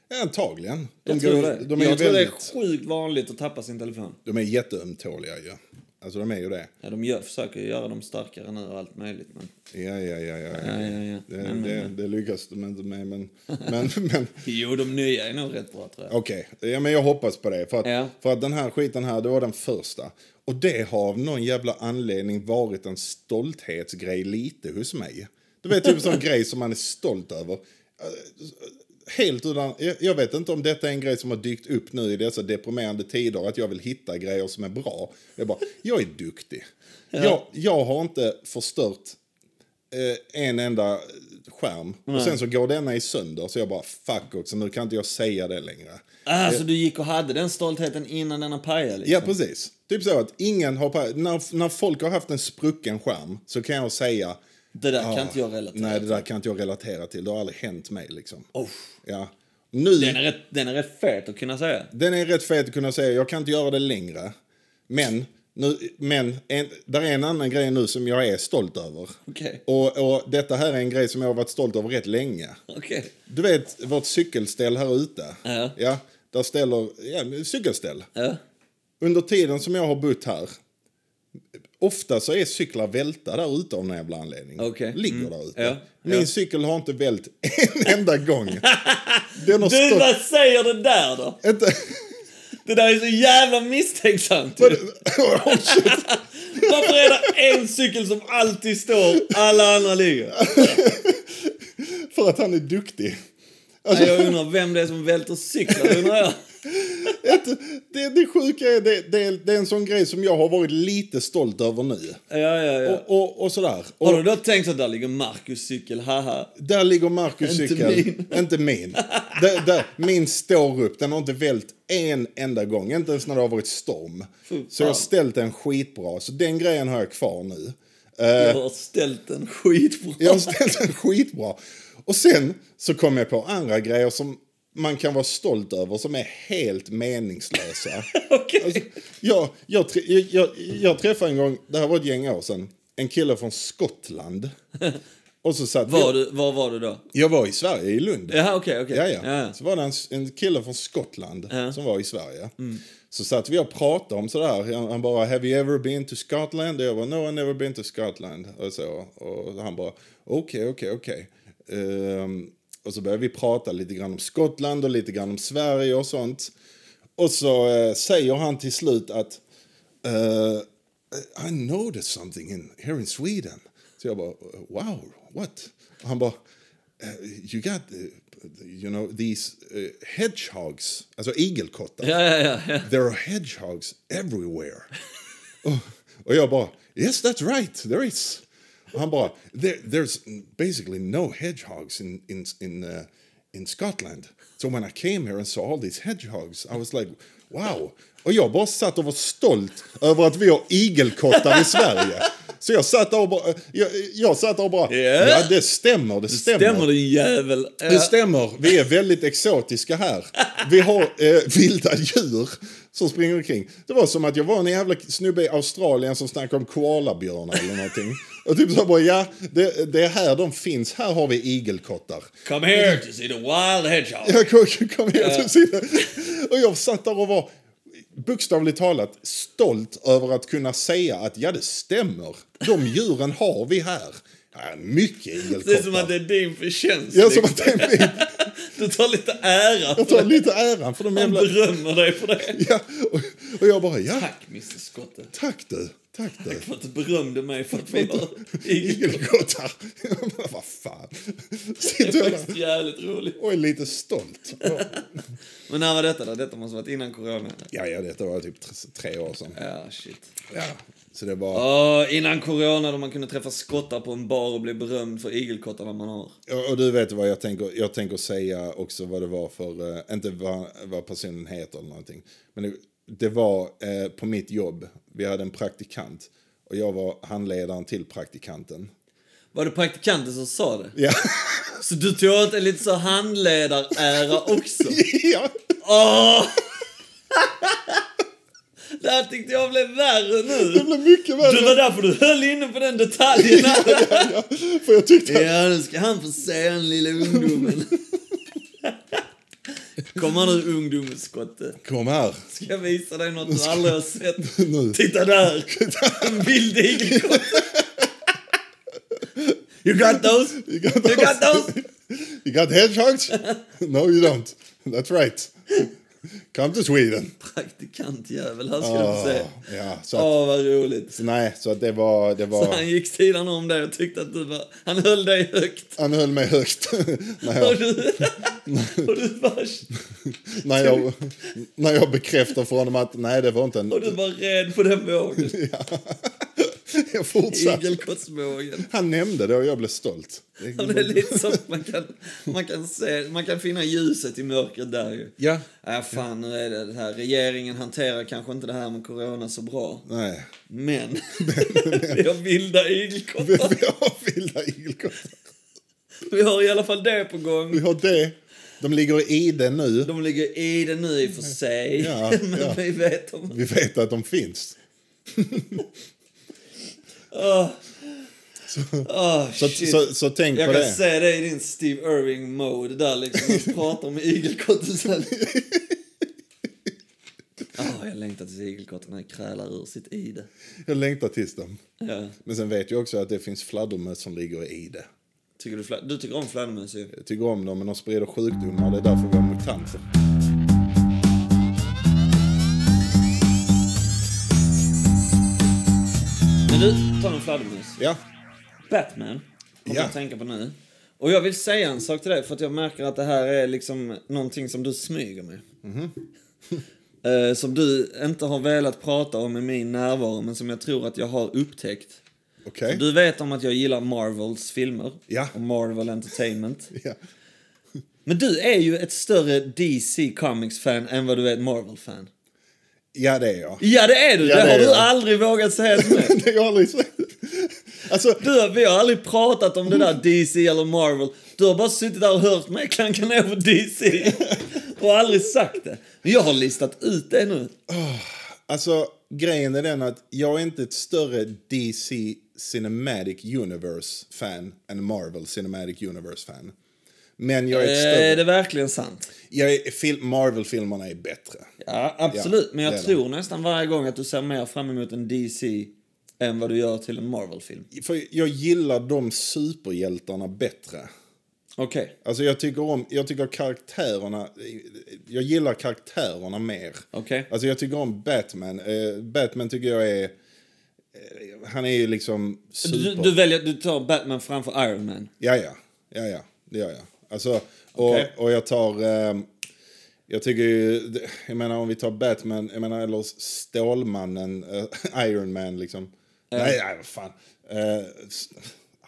[SPEAKER 1] Ja, antagligen. De,
[SPEAKER 2] Jag tror
[SPEAKER 1] går-
[SPEAKER 2] det.
[SPEAKER 1] de är, ju
[SPEAKER 2] jag tror det är
[SPEAKER 1] väldigt,
[SPEAKER 2] sjukt vanligt att tappa sin telefon.
[SPEAKER 1] de är jätteömtåliga ju. Alltså de är ju det.
[SPEAKER 2] Ja, de gör, försöker ju göra dem starkare nu och allt möjligt. Men,
[SPEAKER 1] Ja, ja, ja, ja.
[SPEAKER 2] ja, ja, ja.
[SPEAKER 1] Det, det, det lyckas de inte med, men... men, (laughs) men
[SPEAKER 2] Jo, de nya är nog rätt bra tror jag.
[SPEAKER 1] Okej, ja, men jag hoppas på det. För att,
[SPEAKER 2] Ja.
[SPEAKER 1] för att den här skiten här, det var den första. Och det har av någon jävla anledning varit en stolthetsgrej lite hos mig. Du vet, typ en sån grej som man är stolt över. Eh, helt utan, jag- jag vet inte om detta är en grej som har dykt upp nu i dessa deprimerande tider, att jag vill hitta grejer som är bra. Jag bara, jag är duktig. Jag, jag har inte förstört eh, en enda skärm. Och sen så går denna i sönder, så jag bara, fuck också, nu kan inte jag säga det längre.
[SPEAKER 2] Ah, så du gick och hade den stoltheten innan den har pajat liksom.
[SPEAKER 1] Ja, precis. Typ så att ingen har... pa- När, när folk har haft en sprucken skärm så kan jag säga...
[SPEAKER 2] Det där
[SPEAKER 1] "Ah,
[SPEAKER 2] kan inte jag relatera
[SPEAKER 1] Nej, det
[SPEAKER 2] till.
[SPEAKER 1] där kan inte jag relatera till. Det har aldrig hänt mig liksom.
[SPEAKER 2] Oh,
[SPEAKER 1] Ja. Nu...
[SPEAKER 2] den, är rätt, den är rätt fet att kunna säga.
[SPEAKER 1] Den är rätt fet att kunna säga. Jag kan inte göra det längre. Men, nu, men en, där är en annan grej nu som jag är stolt över.
[SPEAKER 2] Okej.
[SPEAKER 1] Och, och detta här är en grej som jag har varit stolt över rätt länge.
[SPEAKER 2] Okej.
[SPEAKER 1] Du vet vårt cykelställ här ute.
[SPEAKER 2] Ja.
[SPEAKER 1] Ja, där ställer... Ja, cykelställ.
[SPEAKER 2] Ja.
[SPEAKER 1] Under tiden som jag har bott här Ofta så är cyklar välta där ute av någon jävla anledning.
[SPEAKER 2] Okej. Mm.
[SPEAKER 1] Ligger där ute.
[SPEAKER 2] Ja,
[SPEAKER 1] Min cykel har inte vält (laughs)
[SPEAKER 2] (laughs)
[SPEAKER 1] en enda gång. Den har
[SPEAKER 2] Du,
[SPEAKER 1] stått...
[SPEAKER 2] vad säger det där då?
[SPEAKER 1] (laughs) Inte...
[SPEAKER 2] Det där är så jävla misstänksamt.
[SPEAKER 1] Vad är det- Oh, shit.
[SPEAKER 2] Varför är det en cykel som alltid står, alla andra ligger?
[SPEAKER 1] För att han är duktig.
[SPEAKER 2] Nej, Jag undrar vem det är som välter cyklar, undrar jag.
[SPEAKER 1] Att det, det sjuka är, det, det, är- det är en sån grej som jag har varit lite stolt över nu.
[SPEAKER 2] Ja, ja, ja.
[SPEAKER 1] Och, och, och sådär. Och
[SPEAKER 2] Har du då tänkt att där ligger Marcus cykel, haha?
[SPEAKER 1] där ligger Marcus
[SPEAKER 2] Inte
[SPEAKER 1] cykel.
[SPEAKER 2] min.
[SPEAKER 1] Inte min. Där, där, min står upp. Den har inte vält en enda gång. Inte ens när det har varit storm. Så jag har ställt den skitbra. Så den grejen har jag kvar nu.
[SPEAKER 2] Jag har ställt en skitbra.
[SPEAKER 1] Jag har ställt den skitbra. Och sen så kom jag på andra grejer som man kan vara stolt över som är helt meningslösa.
[SPEAKER 2] (laughs) Okej.
[SPEAKER 1] Alltså, jag, jag, trä- jag, jag, jag träffade en gång, det här var ett gäng år sedan, en kille från Skottland. Och så satt
[SPEAKER 2] Var,
[SPEAKER 1] jag,
[SPEAKER 2] du, var var du då?
[SPEAKER 1] jag var i Sverige, i Lund.
[SPEAKER 2] Jaha, okej, okej.
[SPEAKER 1] Ja, ja.
[SPEAKER 2] Ja,
[SPEAKER 1] Så var det en, en kille från Skottland som var i Sverige.
[SPEAKER 2] Mm.
[SPEAKER 1] Så satt vi och pratade om sådär. Han, han bara, have you ever been to Scotland? Och jag bara, no I've never been to Scotland. Och, så, och han bara, okej, okej, okej. Ehm, och så började vi prata lite grann om Skottland och lite grann om Sverige och sånt. Och så eh, säger han till slut att eh, I noticed something in, here in Sweden. Så jag bara, wow, what? Och han bara, eh, you got, eh, you know, these eh, hedgehogs, alltså igelkottar.
[SPEAKER 2] ja, ja, ja, ja.
[SPEAKER 1] (laughs) There are hedgehogs everywhere. (laughs) Oh, och, och jag bara, yes that's right, there is. Och han bara, there, there's basically no hedgehogs in, in, in, uh, in Scotland. So when I came here and saw all these hedgehogs, I was like, wow. Och jag bara satt och var stolt över att vi har igelkottar i (laughs) Sverige. Så jag satt där och bara, jag, jag satt där och bara,
[SPEAKER 2] Yeah.
[SPEAKER 1] ja det stämmer, det stämmer.
[SPEAKER 2] Stämmer din jävel?
[SPEAKER 1] Det
[SPEAKER 2] Ja.
[SPEAKER 1] stämmer. Vi är väldigt exotiska här. Vi har eh, vilda djur som springer omkring. Det var som att jag var en jävla snubbe i Australien som snackade om koalabjörnar eller någonting. Och typ så bara, ja, det, det är här de finns. Här har vi igelkottar.
[SPEAKER 2] Come here to see the wild hedgehog.
[SPEAKER 1] Jag kom, kom
[SPEAKER 2] Eh.
[SPEAKER 1] helt åt sidan. Och jag satt där och var bokstavligt talat stolt över att kunna säga att ja, det stämmer. De djuren har vi här. Ja, mycket
[SPEAKER 2] Det är som
[SPEAKER 1] igelkottar.
[SPEAKER 2] att det är din förtjänst.
[SPEAKER 1] Ja, som
[SPEAKER 2] liksom.
[SPEAKER 1] att det är min.
[SPEAKER 2] Du tar lite ära.
[SPEAKER 1] Jag tar lite äran för de
[SPEAKER 2] Han
[SPEAKER 1] jävla...
[SPEAKER 2] berömmer dig för det.
[SPEAKER 1] Ja, och, och jag bara, ja,
[SPEAKER 2] Tack, Mr Skotte.
[SPEAKER 1] tack du, tack du.
[SPEAKER 2] För att du berömde mig för att vi var igel.
[SPEAKER 1] Igelkottar. Jag bara, Vad fan.
[SPEAKER 2] Det
[SPEAKER 1] Sitter
[SPEAKER 2] är
[SPEAKER 1] jag där
[SPEAKER 2] faktiskt jävligt roligt.
[SPEAKER 1] och är lite stolt. Och-
[SPEAKER 2] Men när var detta då? Detta måste varit innan corona.
[SPEAKER 1] Ja, ja, detta var typ tre- tre år sedan.
[SPEAKER 2] Ja, shit.
[SPEAKER 1] Ja, så det var...
[SPEAKER 2] Ja, innan corona då man kunde träffa skottar på en bar och bli berömd för igelkottarna man har.
[SPEAKER 1] Och, och du vet vad jag tänker, jag tänker säga också vad det var för, eh, inte vad, vad personen heter eller någonting. Men det, det var eh, på mitt jobb, vi hade en praktikant. Och jag var handledaren till praktikanten.
[SPEAKER 2] Var det praktikanten som sa det?
[SPEAKER 1] Ja,
[SPEAKER 2] Så du tog åt en lite så handledarära också?
[SPEAKER 1] (laughs) ja.
[SPEAKER 2] Åh! Det här tyckte jag blev
[SPEAKER 1] det
[SPEAKER 2] värre nu.
[SPEAKER 1] blev mycket värre.
[SPEAKER 2] Du var därför du höll inne på den detaljen.
[SPEAKER 1] ja, för jag tyckte
[SPEAKER 2] (laughs) Ja, nu ska han få se den lilla ungdomen. Kom här nu ungdomen, skotte.
[SPEAKER 1] Kom här.
[SPEAKER 2] Ska jag visa dig något du aldrig har sett?
[SPEAKER 1] Nu.
[SPEAKER 2] Titta där! En vild igelkott. You got those?
[SPEAKER 1] You got
[SPEAKER 2] You got those?
[SPEAKER 1] You got
[SPEAKER 2] (laughs)
[SPEAKER 1] hedgehogs? No you don't. That's right. Come to Sweden.
[SPEAKER 2] Praktikantjävel, här ska du få se.
[SPEAKER 1] Ah, ja, så att,
[SPEAKER 2] Åh, vad roligt.
[SPEAKER 1] Nej, så att det var... Det
[SPEAKER 2] Så
[SPEAKER 1] var
[SPEAKER 2] han gick sidan om dig och tyckte att du var... Han höll dig högt.
[SPEAKER 1] han höll mig högt (laughs) när,
[SPEAKER 2] Och
[SPEAKER 1] jag,
[SPEAKER 2] du, (laughs) och du, var,
[SPEAKER 1] när, jag, när jag bekräftar för honom att nej, det var inte en...
[SPEAKER 2] och du var rädd på den vågen.
[SPEAKER 1] Jag fortsatte.
[SPEAKER 2] Igelkottsvågen.
[SPEAKER 1] Han nämnde det och jag blev stolt.
[SPEAKER 2] Ja, men Det är lite som att man kan, man kan se, man kan finna ljuset i mörkret där ju.
[SPEAKER 1] Ja.
[SPEAKER 2] Ja, fan, nu är det det här. Regeringen hanterar kanske inte det här med corona så bra.
[SPEAKER 1] Nej.
[SPEAKER 2] Men, (laughs) vi har vilda
[SPEAKER 1] Vi
[SPEAKER 2] igelkottar.
[SPEAKER 1] har vilda igelkottar.
[SPEAKER 2] Vi har i alla fall det på
[SPEAKER 1] Vi
[SPEAKER 2] gång.
[SPEAKER 1] har det. De ligger i det nu.
[SPEAKER 2] De ligger i det nu i och för sig.
[SPEAKER 1] Ja,
[SPEAKER 2] (laughs) men
[SPEAKER 1] ja.
[SPEAKER 2] vi vet om...
[SPEAKER 1] Vi vet att de finns.
[SPEAKER 2] Åh, åh,
[SPEAKER 1] Så,
[SPEAKER 2] Ah, shit.
[SPEAKER 1] så, så tänk på
[SPEAKER 2] Jag kan
[SPEAKER 1] det.
[SPEAKER 2] se det i din Steve Irving-mode där liksom. (laughs) Att prata om igelkotten sen. Ah, jag längtar tills igelkottarna krälar ur sitt ide.
[SPEAKER 1] Jag längtar tills dem.
[SPEAKER 2] Ja.
[SPEAKER 1] Men sen vet jag också att det finns fladdermöss som ligger i det.
[SPEAKER 2] Tycker du, fla- du tycker om fladdermöss ju.
[SPEAKER 1] Jag tycker om dem, men de sprider sjukdomar. Det är därför vi har mutanter.
[SPEAKER 2] Men du, ta en fladdermus.
[SPEAKER 1] Ja.
[SPEAKER 2] Batman, kommer
[SPEAKER 1] Ja.
[SPEAKER 2] jag att tänka på nu. Och jag vill säga en sak till dig, för att jag märker att det här är liksom någonting som du smyger med. Eh, som du inte har velat prata om i min närvaro, men som jag tror att jag har upptäckt.
[SPEAKER 1] Okej.
[SPEAKER 2] Du vet om att jag gillar Marvels filmer
[SPEAKER 1] Ja.
[SPEAKER 2] och Marvel Entertainment.
[SPEAKER 1] Ja.
[SPEAKER 2] Men du är ju ett större DC Comics-fan än vad du är ett Marvel-fan.
[SPEAKER 1] ja, det är jag. (laughs)
[SPEAKER 2] Ja, det är du!
[SPEAKER 1] Ja,
[SPEAKER 2] det,
[SPEAKER 1] det
[SPEAKER 2] har
[SPEAKER 1] är
[SPEAKER 2] du
[SPEAKER 1] jag.
[SPEAKER 2] aldrig vågat säga
[SPEAKER 1] (laughs)
[SPEAKER 2] till mig.
[SPEAKER 1] det har jag aldrig sagt. Alltså,
[SPEAKER 2] Du, har- vi har aldrig pratat om det där DC eller Marvel. Du har bara suttit där och hört mig klanka ner
[SPEAKER 1] (laughs)
[SPEAKER 2] på DC och aldrig sagt det. Men jag har listat ut det nu.
[SPEAKER 1] alltså, grejen är den att jag är inte ett större DC Cinematic Universe-fan än Marvel Cinematic Universe-fan. Men jag är ett större...
[SPEAKER 2] Är Eh, det verkligen sant?
[SPEAKER 1] Jag är, fil- Marvel-filmerna är bättre.
[SPEAKER 2] Ja, absolut.
[SPEAKER 1] Ja,
[SPEAKER 2] Men
[SPEAKER 1] det
[SPEAKER 2] jag
[SPEAKER 1] är
[SPEAKER 2] tror nästan varje gång att du ser mer fram emot en DC än vad du gör till en Marvel-film.
[SPEAKER 1] För jag gillar de superhjältarna bättre.
[SPEAKER 2] Okej.
[SPEAKER 1] Alltså jag tycker om, jag tycker karaktärerna, jag gillar karaktärerna mer.
[SPEAKER 2] Okej.
[SPEAKER 1] Alltså jag tycker om Batman. Eh, Batman tycker jag är, eh, han är ju liksom
[SPEAKER 2] Du,
[SPEAKER 1] super.
[SPEAKER 2] du väljer, du tar Batman framför Iron Man.
[SPEAKER 1] Ja, ja, ja, ja, det gör jag. Alltså, och,
[SPEAKER 2] Okej.
[SPEAKER 1] och jag tar, eh, jag tycker ju, jag menar om vi tar Batman, jag menar eller Stålmannen, eh, (laughs) Iron Man liksom. Nej, nej, vad fan. Eh, s-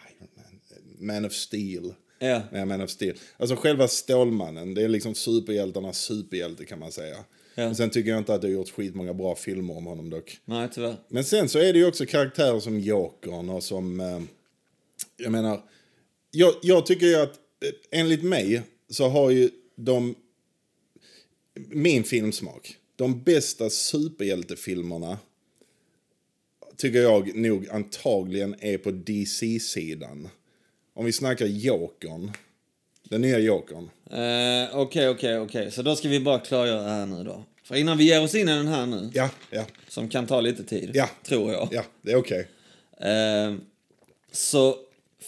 [SPEAKER 1] Iron Man, eh, Man of Steel.
[SPEAKER 2] Ja.
[SPEAKER 1] Nej, Man of Steel. Alltså själva Stålmannen, det är liksom superhjältarnas superhjälte kan man säga.
[SPEAKER 2] Ja.
[SPEAKER 1] Men sen tycker jag inte att det har gjorts skitmånga bra filmer om honom dock.
[SPEAKER 2] Nej, tyvärr.
[SPEAKER 1] Men sen så är det ju också karaktärer som Jokern och som... Eh, jag menar... Jag, jag tycker ju att eh, enligt mig så har ju de... Min filmsmak. De bästa superhjältefilmerna tycker jag nog antagligen är på DC-sidan. Om vi snackar Jokern. Den nya Jokern.
[SPEAKER 2] Eh, Okej, okej, okej. Så då ska vi bara klargöra här nu då. För innan vi ger oss in i den här nu,
[SPEAKER 1] Ja, ja,
[SPEAKER 2] som kan ta lite tid,
[SPEAKER 1] Ja.
[SPEAKER 2] tror jag.
[SPEAKER 1] ja. Det är okej.
[SPEAKER 2] Eh, så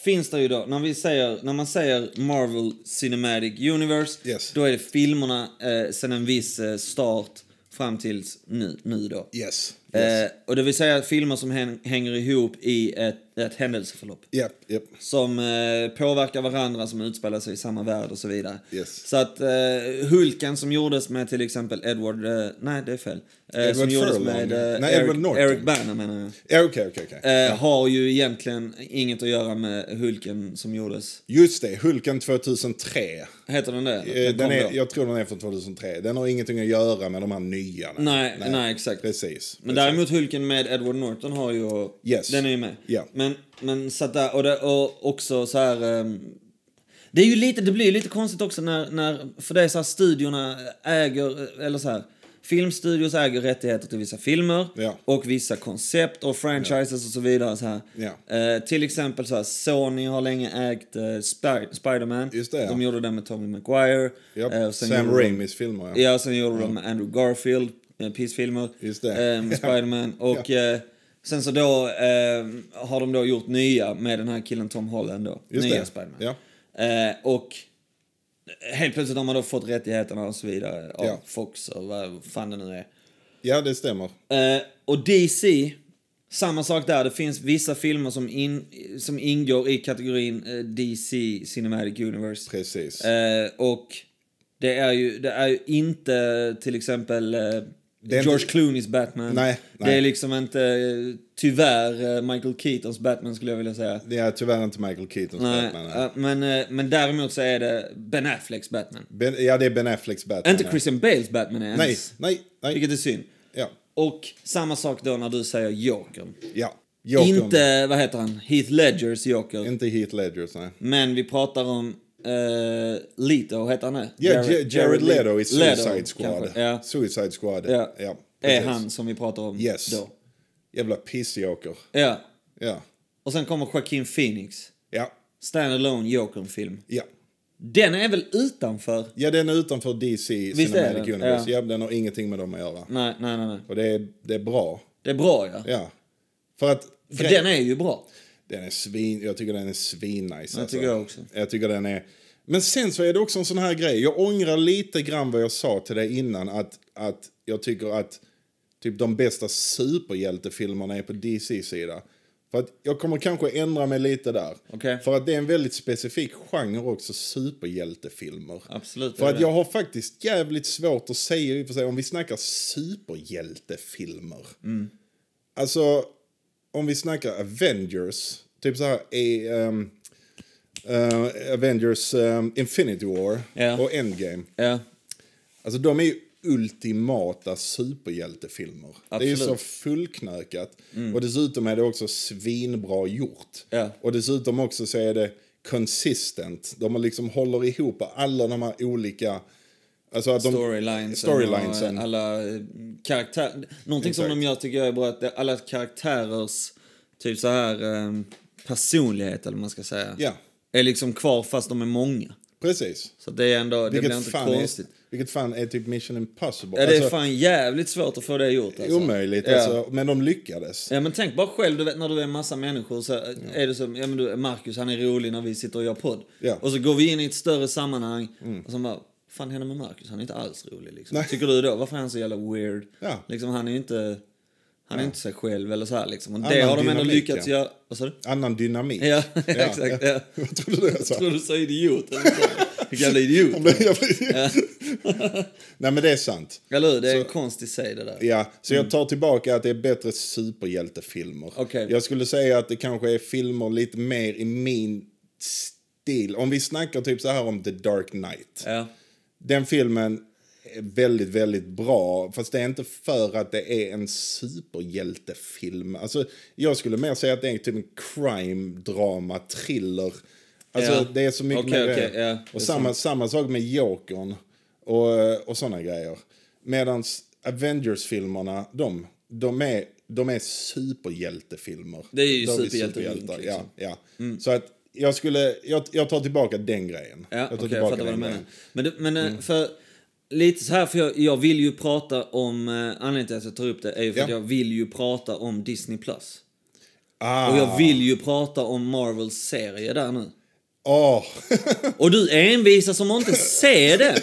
[SPEAKER 2] finns det ju då, när, vi säger, när man säger Marvel Cinematic Universe,
[SPEAKER 1] Yes.
[SPEAKER 2] då är det filmerna eh, sen en viss eh, start fram tills nu, nu då.
[SPEAKER 1] Yes.
[SPEAKER 2] Eh, och det vill säga filmer som häng, hänger ihop i ett, ett händelseförlopp.
[SPEAKER 1] Japp, japp.
[SPEAKER 2] Som eh, påverkar varandra, som utspelar sig i samma värld och så vidare.
[SPEAKER 1] Yes.
[SPEAKER 2] Så att eh, Hulken som gjordes med till exempel Edward... Eh, nej, det är fel. Eh,
[SPEAKER 1] Edward
[SPEAKER 2] som gjordes
[SPEAKER 1] Furlong.
[SPEAKER 2] med eh,
[SPEAKER 1] Nej, Edward
[SPEAKER 2] Eric,
[SPEAKER 1] Norton.
[SPEAKER 2] Eric Banner menar jag.
[SPEAKER 1] Ja, okej, okej, okej.
[SPEAKER 2] Eh, Har ju egentligen inget att göra med Hulken som gjordes.
[SPEAKER 1] Just det, Hulken 2003.
[SPEAKER 2] Heter den det? eller?
[SPEAKER 1] Eh,
[SPEAKER 2] kom
[SPEAKER 1] Den är,
[SPEAKER 2] då.
[SPEAKER 1] jag tror den är från 2003. Den har ingenting att göra med de här nya.
[SPEAKER 2] Nej, nej, exakt.
[SPEAKER 1] Precis. precis.
[SPEAKER 2] Men däremot Hulken med Edward Norton har ju...
[SPEAKER 1] Yes.
[SPEAKER 2] Den är ju med.
[SPEAKER 1] Ja.
[SPEAKER 2] Men, men så att där, och, det, och också så här... ehm, det, är ju lite, det blir ju lite konstigt också när, när... För det är så här studiorna äger... Eller så här... Filmstudios äger rättigheter till vissa filmer
[SPEAKER 1] Ja.
[SPEAKER 2] och vissa koncept och franchises och så vidare. Så här.
[SPEAKER 1] Ja.
[SPEAKER 2] Eh, till exempel så här, Sony har länge ägt eh, Spy- Spider-Man.
[SPEAKER 1] Just det, ja.
[SPEAKER 2] De gjorde den med Tommy Maguire.
[SPEAKER 1] Japp,
[SPEAKER 2] eh, och sen
[SPEAKER 1] Sam
[SPEAKER 2] gjorde de-
[SPEAKER 1] Raimis filmer, ja.
[SPEAKER 2] Ja, sen gjorde de Andrew Garfield, eh, Peace-filmer,
[SPEAKER 1] Just det.
[SPEAKER 2] eh,
[SPEAKER 1] (laughs)
[SPEAKER 2] med Spiderman. Och eh, sen så då eh, har de då gjort nya med den här killen Tom Holland då.
[SPEAKER 1] Just
[SPEAKER 2] nya
[SPEAKER 1] det.
[SPEAKER 2] Spiderman.
[SPEAKER 1] Ja.
[SPEAKER 2] Eh, och helt plötsligt har man då fått rättigheterna och så vidare av
[SPEAKER 1] Ja.
[SPEAKER 2] Fox och vad fan det nu är.
[SPEAKER 1] ja, det stämmer.
[SPEAKER 2] Eh, och DC, samma sak där. Det finns vissa filmer som, in, som ingår i kategorin eh, DC Cinematic Universe.
[SPEAKER 1] Precis.
[SPEAKER 2] Eh, och det är, ju, det är ju inte till exempel eh,
[SPEAKER 1] Det är
[SPEAKER 2] George
[SPEAKER 1] inte-
[SPEAKER 2] Cloonys Batman.
[SPEAKER 1] Nej,
[SPEAKER 2] Det
[SPEAKER 1] nej.
[SPEAKER 2] är liksom inte, eh, tyvärr, eh, Michael Keatons Batman skulle jag vilja säga.
[SPEAKER 1] Det är tyvärr inte Michael Keatons
[SPEAKER 2] Nej,
[SPEAKER 1] Batman.
[SPEAKER 2] eh, men, eh, men däremot så är det Ben Afflecks Batman.
[SPEAKER 1] Ben, ja, det är Ben Afflecks Batman.
[SPEAKER 2] Inte
[SPEAKER 1] ja.
[SPEAKER 2] Christian Bales Batman ens.
[SPEAKER 1] Nej, nej, nej.
[SPEAKER 2] Vilket är synd.
[SPEAKER 1] Ja.
[SPEAKER 2] Och samma sak då när du säger Jokern.
[SPEAKER 1] ja. Jokern.
[SPEAKER 2] Inte, vad heter han, Heath Ledgers Joker.
[SPEAKER 1] Inte Heath Ledgers, nej.
[SPEAKER 2] Men vi pratar om uh, Leto, heter han det?
[SPEAKER 1] Ja,
[SPEAKER 2] Jared-
[SPEAKER 1] Jared, Jared Leto i Suicide
[SPEAKER 2] Leto,
[SPEAKER 1] Squad.
[SPEAKER 2] kanske. Ja.
[SPEAKER 1] Suicide Squad.
[SPEAKER 2] Ja.
[SPEAKER 1] ja
[SPEAKER 2] är
[SPEAKER 1] precis.
[SPEAKER 2] han som vi pratar om
[SPEAKER 1] Yes.
[SPEAKER 2] då.
[SPEAKER 1] Jävla pissjoker.
[SPEAKER 2] Ja.
[SPEAKER 1] Ja.
[SPEAKER 2] Och sen kommer Joaquin Phoenix.
[SPEAKER 1] Ja.
[SPEAKER 2] Standalone Jokern-film.
[SPEAKER 1] Ja.
[SPEAKER 2] Den är väl utanför?
[SPEAKER 1] Ja, den är utanför DC
[SPEAKER 2] Visst är
[SPEAKER 1] Cinematic
[SPEAKER 2] den?
[SPEAKER 1] Universe.
[SPEAKER 2] Ja.
[SPEAKER 1] Ja. den har ingenting med dem att göra.
[SPEAKER 2] Nej, nej, nej. nej.
[SPEAKER 1] Och det är, det är bra.
[SPEAKER 2] Det är bra, ja.
[SPEAKER 1] Ja. För att...
[SPEAKER 2] För den är ju bra.
[SPEAKER 1] den är svin... Jag tycker den är svinnice. alltså.
[SPEAKER 2] Jag tycker jag också.
[SPEAKER 1] Jag tycker den är... Men sen så är det också en sån här grej. Jag ångrar lite grann vad jag sa till dig innan. Att, att jag tycker att typ de bästa superhjältefilmerna är på DC-sida. För att jag kommer kanske ändra mig lite där.
[SPEAKER 2] Okej.
[SPEAKER 1] För att det är en väldigt specifik genre också, superhjältefilmer.
[SPEAKER 2] Absolut.
[SPEAKER 1] För
[SPEAKER 2] det är
[SPEAKER 1] att
[SPEAKER 2] det.
[SPEAKER 1] jag har faktiskt jävligt svårt att säga i och för sig om vi snackar superhjältefilmer.
[SPEAKER 2] Mm.
[SPEAKER 1] Alltså, om vi snackar Avengers, typ så här i, ehm, eh, Avengers ehm, Infinity War
[SPEAKER 2] Ja.
[SPEAKER 1] och Endgame.
[SPEAKER 2] Ja.
[SPEAKER 1] Alltså de är ju ultimata superhjältefilmer. Det är ju så
[SPEAKER 2] Absolut. Mm.
[SPEAKER 1] fullknökat. Och dessutom är det också svinbra gjort.
[SPEAKER 2] Ja.
[SPEAKER 1] Och dessutom också så är det consistent. De har liksom håller ihop alla de här olika... Alltså att de...
[SPEAKER 2] Storylines
[SPEAKER 1] Storylinesen.
[SPEAKER 2] och alla eh, karaktärer. Någonting som
[SPEAKER 1] Exakt.
[SPEAKER 2] de gör tycker jag är bra att det- alla karaktärers typ så här eh, personlighet eller vad man ska säga.
[SPEAKER 1] Ja.
[SPEAKER 2] Är liksom kvar fast de är många.
[SPEAKER 1] Precis.
[SPEAKER 2] Så det är ändå, det blir
[SPEAKER 1] Vilket
[SPEAKER 2] inte
[SPEAKER 1] fan, är,
[SPEAKER 2] konstigt.
[SPEAKER 1] vilket fan är typ Mission Impossible.
[SPEAKER 2] Ja, det är
[SPEAKER 1] Alltså,
[SPEAKER 2] fan jävligt svårt att få det gjort alltså.
[SPEAKER 1] Omöjligt,
[SPEAKER 2] Ja.
[SPEAKER 1] alltså, men de lyckades.
[SPEAKER 2] Ja men tänk bara själv, du vet när du är en massa människor så eh, är det som, ja men du, Marcus han är rolig när vi sitter och gör podd.
[SPEAKER 1] Ja. Mm.
[SPEAKER 2] Och så går vi in i ett större sammanhang och så bara, vad fan händer med Marcus? Han är inte alls rolig liksom.
[SPEAKER 1] Nej.
[SPEAKER 2] Tycker du då, varför är han så jävla weird?
[SPEAKER 1] Ja.
[SPEAKER 2] Liksom han är ju inte, han är inte sig själv eller så här liksom. Och det
[SPEAKER 1] Annan
[SPEAKER 2] har de ändå
[SPEAKER 1] dynamik,
[SPEAKER 2] lyckats
[SPEAKER 1] ja.
[SPEAKER 2] göra, vad sa du?
[SPEAKER 1] Annan dynamik.
[SPEAKER 2] Ja, (laughs) exakt. Ja.
[SPEAKER 1] (laughs) Vad trodde du jag sa?
[SPEAKER 2] Jag tror du sa idiot eller så. liksom. Vilken
[SPEAKER 1] (laughs)
[SPEAKER 2] jävla idiot.
[SPEAKER 1] Jag blev- jag blev- Nej men det är sant.
[SPEAKER 2] Eller hur? Det är en konstig säg det där.
[SPEAKER 1] Ja, så jag tar tillbaka att det är bättre superhjältefilmer.
[SPEAKER 2] Okej.
[SPEAKER 1] Jag skulle säga att det kanske är filmer lite mer i min stil. Om vi snackar typ så här om The Dark Knight.
[SPEAKER 2] Ja.
[SPEAKER 1] Den filmen är väldigt, väldigt bra. Fast det är inte för att det är en superhjältefilm. Alltså, jag skulle mer säga att det är typ en crime, drama, thriller. Alltså,
[SPEAKER 2] Ja.
[SPEAKER 1] det är så mycket
[SPEAKER 2] Okej,
[SPEAKER 1] mer...
[SPEAKER 2] okej, ja. Det är
[SPEAKER 1] och samma, samma sak med Jokern och, och sådana grejer. Medan Avengers-filmerna, de, de, är, de är superhjältefilmer.
[SPEAKER 2] Det är ju
[SPEAKER 1] Då vi
[SPEAKER 2] superhjältelunk,
[SPEAKER 1] superhjältar,
[SPEAKER 2] liksom.
[SPEAKER 1] Ja, ja. Så att jag skulle... Jag, jag tar tillbaka den grejen.
[SPEAKER 2] Ja,
[SPEAKER 1] tar
[SPEAKER 2] okej, jag fattar
[SPEAKER 1] den
[SPEAKER 2] vad du
[SPEAKER 1] Mm.
[SPEAKER 2] menar.
[SPEAKER 1] grejen.
[SPEAKER 2] Men, det- men eh, för, lite så här, för jag, jag vill ju prata om... eh, Anledningen till att jag tar upp det är ju för
[SPEAKER 1] Ja.
[SPEAKER 2] att jag vill ju prata om Disney+. Plus.
[SPEAKER 1] Ah.
[SPEAKER 2] Och jag vill ju prata om Marvels serie där nu.
[SPEAKER 1] Åh!
[SPEAKER 2] Och du envisas som att inte se det.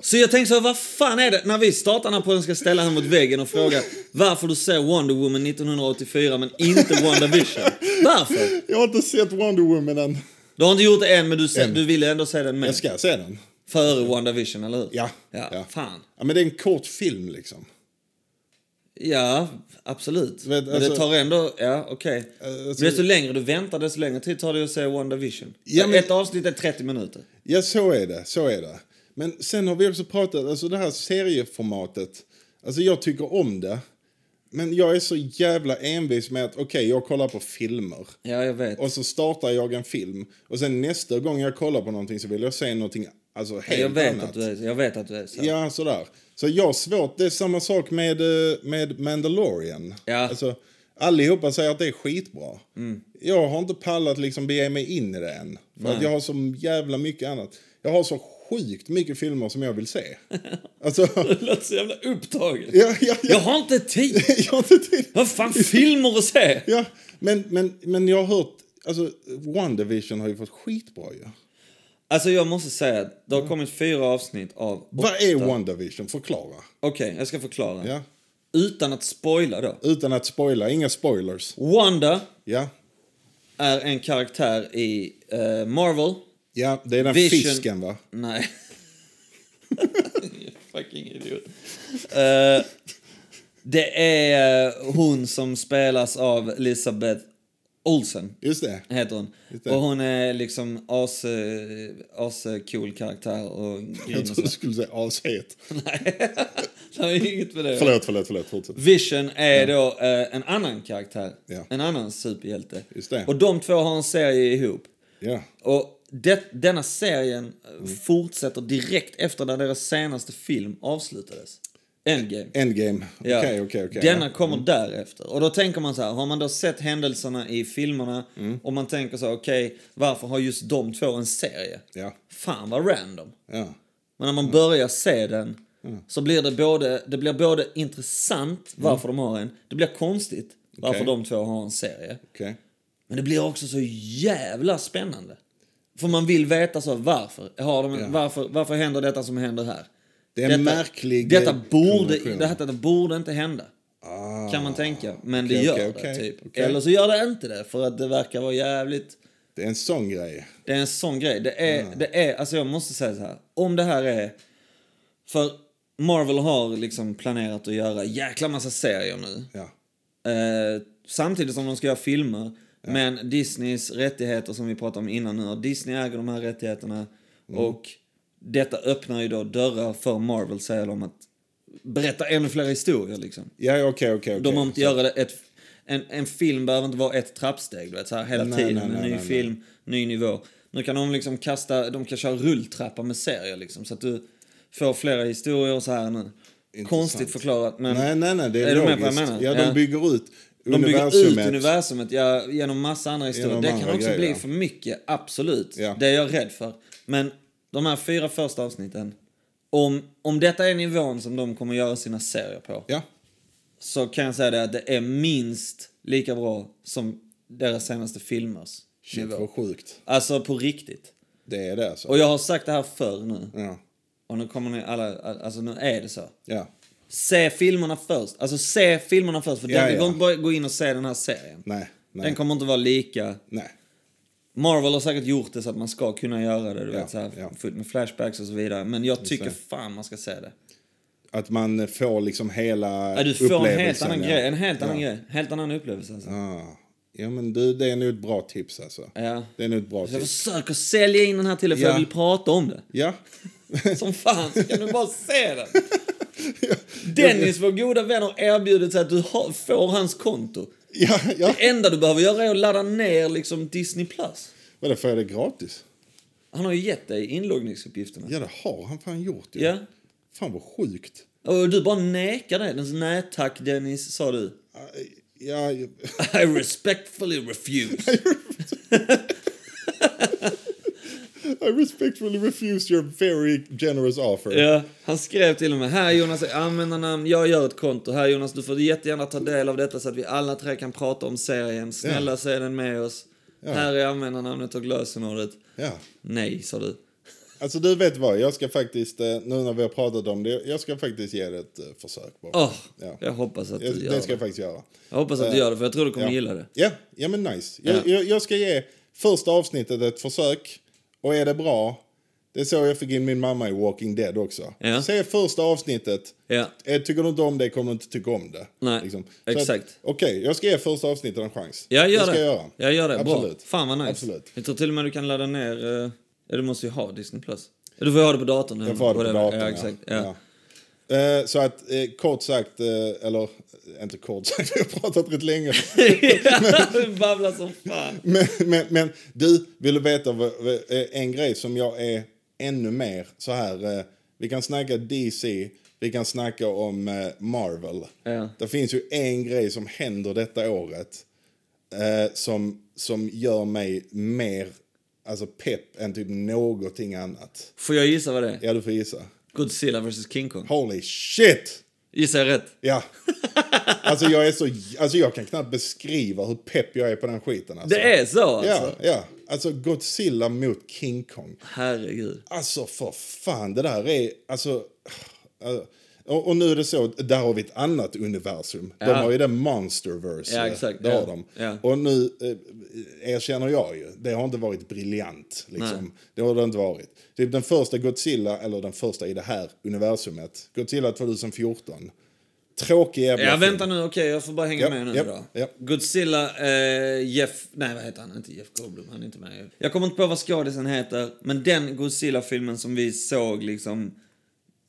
[SPEAKER 2] Så jag tänkte så här, vad fan är det? När vi startar den här podden ska jag ställa henne mot väggen och fråga varför du ser Wonder Woman 1984 men inte WandaVision. Varför?
[SPEAKER 1] (laughs) Jag har inte sett Wonder Woman än.
[SPEAKER 2] Du har inte gjort det än men du, ser, du ville ändå se den
[SPEAKER 1] Jag
[SPEAKER 2] med.
[SPEAKER 1] ska se den.
[SPEAKER 2] Före WandaVision, eller hur?
[SPEAKER 1] Ja,
[SPEAKER 2] ja.
[SPEAKER 1] ja.
[SPEAKER 2] Fan.
[SPEAKER 1] Ja, men det är en kort film liksom.
[SPEAKER 2] Ja, absolut.
[SPEAKER 1] Men
[SPEAKER 2] Men, det
[SPEAKER 1] alltså-
[SPEAKER 2] tar ändå... Ja, okej. Men desto längre du väntar, desto längre tid tar det att se WandaVision.
[SPEAKER 1] Ja, men-
[SPEAKER 2] Ett avsnitt är 30 minuter.
[SPEAKER 1] Ja, så är det. Så är det. Men sen har vi också pratat, alltså det här serieformatet. Alltså jag tycker om det. Men jag är så jävla envis med att okej, jag kollar på filmer.
[SPEAKER 2] Ja, jag vet.
[SPEAKER 1] Och så startar jag en film. Och sen nästa gång jag kollar på någonting så vill jag se någonting, alltså helt
[SPEAKER 2] jag, vet
[SPEAKER 1] annat.
[SPEAKER 2] att du är, jag vet att du är (laughs) så.
[SPEAKER 1] Ja, sådär. Så jag har svårt. Det är samma sak med, eh, med Mandalorian.
[SPEAKER 2] Ja.
[SPEAKER 1] Alltså, allihopa säger att det är skitbra. Jag har inte pallat liksom bege mig in i det än. För att jag har så jävla mycket annat. Jag har så sjukt mycket filmer som jag vill se. (laughs) Alltså,
[SPEAKER 2] Du låter så jävla upptagen.
[SPEAKER 1] ja, ja, ja.
[SPEAKER 2] Jag har inte tid!
[SPEAKER 1] (laughs) jag har inte tid.
[SPEAKER 2] Jag
[SPEAKER 1] (laughs)
[SPEAKER 2] har fan filmer att se!
[SPEAKER 1] Ja, men, men, men jag har hört, alltså, WandaVision har ju fått skitbra ju.
[SPEAKER 2] Alltså, jag måste säga att det har kommit fyra avsnitt av...
[SPEAKER 1] Vad är WandaVision? Förklara.
[SPEAKER 2] Okej, jag ska förklara.
[SPEAKER 1] Ja.
[SPEAKER 2] Utan att spoila då.
[SPEAKER 1] Utan att spoila, inga spoilers.
[SPEAKER 2] Wanda
[SPEAKER 1] Ja,
[SPEAKER 2] är en karaktär i eh, Marvel.
[SPEAKER 1] ja det är den
[SPEAKER 2] Vision-
[SPEAKER 1] fisken va? (laughs)
[SPEAKER 2] Nej. Fucking idiot. Eh, det är eh, hon som spelas av Elisabeth Olsen.
[SPEAKER 1] Just det.
[SPEAKER 2] Heter hon.
[SPEAKER 1] Just det.
[SPEAKER 2] Och hon är liksom as, eh, as eh, cool karaktär och grym
[SPEAKER 1] Jag
[SPEAKER 2] och
[SPEAKER 1] trodde
[SPEAKER 2] sådär.
[SPEAKER 1] du skulle säga ashet.
[SPEAKER 2] Det är inget med det.
[SPEAKER 1] Förlåt, förlåt, förlåt. Fortsätt.
[SPEAKER 2] Vision är då eh, en annan karaktär.
[SPEAKER 1] Ja.
[SPEAKER 2] En annan superhjälte.
[SPEAKER 1] Just det.
[SPEAKER 2] Och de två har en serie ihop.
[SPEAKER 1] Ja.
[SPEAKER 2] Och det, denna serien eh,
[SPEAKER 1] Mm.
[SPEAKER 2] fortsätter direkt efter när deras senaste film avslutades. Endgame.
[SPEAKER 1] Endgame.
[SPEAKER 2] Ja.
[SPEAKER 1] Okej, okej, okej.
[SPEAKER 2] Denna
[SPEAKER 1] Ja. Mm.
[SPEAKER 2] kommer därefter. Och då tänker man så här, har man då sett händelserna i filmerna
[SPEAKER 1] Mm.
[SPEAKER 2] och man tänker så här, okej, varför har just de två en serie?
[SPEAKER 1] Ja.
[SPEAKER 2] Fan vad random.
[SPEAKER 1] Ja.
[SPEAKER 2] Men när man börjar se den
[SPEAKER 1] Mm.
[SPEAKER 2] så blir det både, det blir både intressant varför de har en, det blir konstigt varför
[SPEAKER 1] Mm. Okej.
[SPEAKER 2] de två har en serie.
[SPEAKER 1] Okej.
[SPEAKER 2] Men det blir också så jävla spännande. För man vill veta så varför. Har de, varför, varför händer detta som händer här?
[SPEAKER 1] Det är en
[SPEAKER 2] detta,
[SPEAKER 1] märklig,
[SPEAKER 2] Detta
[SPEAKER 1] eh,
[SPEAKER 2] borde,
[SPEAKER 1] kombination.
[SPEAKER 2] detta, detta borde inte hända.
[SPEAKER 1] Ah,
[SPEAKER 2] Kan man tänka. Men
[SPEAKER 1] okej,
[SPEAKER 2] det gör
[SPEAKER 1] okej,
[SPEAKER 2] det,
[SPEAKER 1] okej,
[SPEAKER 2] typ.
[SPEAKER 1] okej.
[SPEAKER 2] Eller så gör det inte det, för att det verkar vara jävligt...
[SPEAKER 1] Det är en sån grej.
[SPEAKER 2] Det är en sån grej. Det är,
[SPEAKER 1] Ah.
[SPEAKER 2] det är, alltså jag måste säga så här. Om det här är... För Marvel har liksom planerat att göra jäkla massa serier nu.
[SPEAKER 1] Ja.
[SPEAKER 2] Eh, samtidigt som de ska göra filmer. Men Disneys rättigheter som vi pratade om innan nu. Disney äger de här rättigheterna.
[SPEAKER 1] Mm.
[SPEAKER 2] Och detta öppnar ju då dörrar för Marvel säger de att berätta ännu fler historier liksom.
[SPEAKER 1] Ja, okej, okej, okej.
[SPEAKER 2] De behöver inte göra det ett, en, en film behöver inte vara ett trappsteg du vet, så här, hela
[SPEAKER 1] Nej,
[SPEAKER 2] tiden.
[SPEAKER 1] nej,
[SPEAKER 2] en
[SPEAKER 1] nej,
[SPEAKER 2] ny
[SPEAKER 1] nej, nej.
[SPEAKER 2] film, ny nivå. Nu kan de liksom kasta, de kan köra rulltrappa med serier liksom. Så att du får flera historier och så här nu. Konstigt förklarat men
[SPEAKER 1] Nej, nej, nej, det är,
[SPEAKER 2] Är du med på vad jag
[SPEAKER 1] logiskt.
[SPEAKER 2] menar?
[SPEAKER 1] Ja,
[SPEAKER 2] Ja.
[SPEAKER 1] de bygger ut
[SPEAKER 2] de
[SPEAKER 1] universumet.
[SPEAKER 2] bygger ut universumet ja, genom massa andra historier.
[SPEAKER 1] Genom
[SPEAKER 2] det
[SPEAKER 1] andra
[SPEAKER 2] kan också
[SPEAKER 1] grejer,
[SPEAKER 2] bli
[SPEAKER 1] ja.
[SPEAKER 2] för mycket, absolut.
[SPEAKER 1] Ja.
[SPEAKER 2] Det är jag rädd för. Men de här fyra första avsnitten, om, om detta är nivån som de kommer göra sina serier på.
[SPEAKER 1] Ja,
[SPEAKER 2] så kan jag säga det att det är minst lika bra som deras senaste filmers.
[SPEAKER 1] shit vad sjukt.
[SPEAKER 2] Alltså på riktigt.
[SPEAKER 1] Det är det alltså.
[SPEAKER 2] Och jag har sagt det här förr nu.
[SPEAKER 1] Ja,
[SPEAKER 2] Och nu kommer ni alla, alltså nu är det så.
[SPEAKER 1] ja.
[SPEAKER 2] Se filmerna först. Alltså se filmerna först. För
[SPEAKER 1] Ja,
[SPEAKER 2] den, det
[SPEAKER 1] ja.
[SPEAKER 2] går inte bara att gå in och se den här serien.
[SPEAKER 1] Nej, nej.
[SPEAKER 2] Den kommer inte vara lika.
[SPEAKER 1] Nej.
[SPEAKER 2] Marvel har säkert gjort det så att man ska kunna göra det. Du vet, så här,
[SPEAKER 1] ja.
[SPEAKER 2] fullt med flashbacks och så vidare. Men jag tycker
[SPEAKER 1] det.
[SPEAKER 2] fan man ska se det.
[SPEAKER 1] Att man får liksom hela
[SPEAKER 2] Ja, du får en helt
[SPEAKER 1] upplevelsen,
[SPEAKER 2] annan
[SPEAKER 1] ja.
[SPEAKER 2] grej. En helt annan
[SPEAKER 1] ja.
[SPEAKER 2] grej. Helt annan upplevelse alltså.
[SPEAKER 1] Ja. ja, men du, det är nog ett bra tips alltså.
[SPEAKER 2] Ja.
[SPEAKER 1] Det är nog ett bra
[SPEAKER 2] Jag
[SPEAKER 1] tips.
[SPEAKER 2] försöker sälja in den här till dig för
[SPEAKER 1] Ja.
[SPEAKER 2] jag vill prata
[SPEAKER 1] (laughs)
[SPEAKER 2] om det.
[SPEAKER 1] Ja.
[SPEAKER 2] Som fan så kan du bara
[SPEAKER 1] (laughs)
[SPEAKER 2] se den. Dennis, vår goda vän, har erbjudit sig att du har, får hans konto.
[SPEAKER 1] Ja, ja.
[SPEAKER 2] Det enda du behöver göra är att ladda ner liksom Disney+. Plus.
[SPEAKER 1] Vadå, får jag det gratis?
[SPEAKER 2] Han har ju gett dig inloggningsuppgifterna.
[SPEAKER 1] Ja, det har han fan gjort ju.
[SPEAKER 2] Ja.
[SPEAKER 1] Fan vad sjukt.
[SPEAKER 2] Och du bara nekar det. Den så, Nej tack Dennis, sa du.
[SPEAKER 1] Ja, (laughs) ja.
[SPEAKER 2] I respectfully
[SPEAKER 1] (laughs)
[SPEAKER 2] refuse.
[SPEAKER 1] I respectfully refuse your very generous offer.
[SPEAKER 2] ja. Han skrev till och med, här Jonas är användarnamn, jag gör ett konto. Här Jonas, du får jättegärna ta del av detta så att vi alla tre kan prata om serien. Snälla se den med oss. Här är användarnamnet och lösenordet.
[SPEAKER 1] Ja.
[SPEAKER 2] Nej, sa du.
[SPEAKER 1] Alltså du vet vad, jag ska faktiskt, eh, nu när vi har pratat om det, jag ska faktiskt ge det ett eh, försök bara.
[SPEAKER 2] Åh,
[SPEAKER 1] Ja.
[SPEAKER 2] Jag hoppas att
[SPEAKER 1] Jag,
[SPEAKER 2] du gör
[SPEAKER 1] det ska
[SPEAKER 2] det.
[SPEAKER 1] jag faktiskt göra.
[SPEAKER 2] Jag hoppas att du gör det, för jag tror du kommer gilla det.
[SPEAKER 1] Ja, ja men nice. Jag, jag, jag ska ge första avsnittet ett försök. Och är det bra, det är så jag fick in min mamma i Walking Dead också.
[SPEAKER 2] Ja.
[SPEAKER 1] Se första avsnittet.
[SPEAKER 2] Ja.
[SPEAKER 1] Eh, Tycker du inte om det kommer du inte tycka om det. Liksom.
[SPEAKER 2] Nej,
[SPEAKER 1] Så
[SPEAKER 2] exakt.
[SPEAKER 1] att, Okej, jag ska ge första avsnittet en chans.
[SPEAKER 2] Jag gör
[SPEAKER 1] det.
[SPEAKER 2] det.
[SPEAKER 1] ska jag göra.
[SPEAKER 2] Jag gör det. Bra.
[SPEAKER 1] Absolut.
[SPEAKER 2] Fan vad nice.
[SPEAKER 1] Absolut.
[SPEAKER 2] Jag tror till och med du kan ladda ner... eh, Ja, du måste ju ha Disney+. Plus. Du får ju ha det på datorn.
[SPEAKER 1] Jag får ha det på datorn.
[SPEAKER 2] Ja, exakt. Ja.
[SPEAKER 1] Eh, Så att eh, kort sagt, eh, eller eh, inte kort sagt, (laughs) vi har pratat rätt länge.
[SPEAKER 2] (laughs) du babblar som fan.
[SPEAKER 1] Men, men, men du, vill du veta vad, vad, eh, en grej som jag är ännu mer så här. eh, Vi kan snacka DC, vi kan snacka om eh, Marvel.
[SPEAKER 2] Ja.
[SPEAKER 1] Det finns ju en grej som händer detta året eh, som, som gör mig mer alltså, pepp än typ någonting annat.
[SPEAKER 2] Får jag gissa vad det är?
[SPEAKER 1] Ja, du får gissa.
[SPEAKER 2] Godzilla vs King Kong.
[SPEAKER 1] Holy shit!
[SPEAKER 2] Gissar jag rätt? (laughs)
[SPEAKER 1] Ja. Alltså jag är så... Alltså jag kan knappt beskriva hur pepp jag är på den skiten. Alltså.
[SPEAKER 2] Det är så alltså?
[SPEAKER 1] Ja, ja. Alltså Godzilla mot King Kong.
[SPEAKER 2] Herregud.
[SPEAKER 1] Alltså för fan, det där är... Alltså... äh, Och, och nu är det så, där har vi ett annat universum. De
[SPEAKER 2] Ja.
[SPEAKER 1] har ju det Monsterverse.
[SPEAKER 2] Ja, exakt.
[SPEAKER 1] Det
[SPEAKER 2] Ja.
[SPEAKER 1] har de.
[SPEAKER 2] Ja.
[SPEAKER 1] Och nu eh, erkänner jag ju, det har inte varit briljant. Liksom. Det har det inte varit. Typ den första Godzilla, eller den första i det här universumet, Godzilla 2014. Tråkig jävla
[SPEAKER 2] Ja,
[SPEAKER 1] film.
[SPEAKER 2] vänta nu. Okej, jag får bara hänga
[SPEAKER 1] Ja,
[SPEAKER 2] med nu
[SPEAKER 1] ja,
[SPEAKER 2] då.
[SPEAKER 1] ja.
[SPEAKER 2] Godzilla, eh, Jeff... Nej, vad heter han? Inte Jeff Goldblum. Han är inte med. Jag kommer inte på vad skådisen heter, men den Godzilla-filmen som vi såg liksom...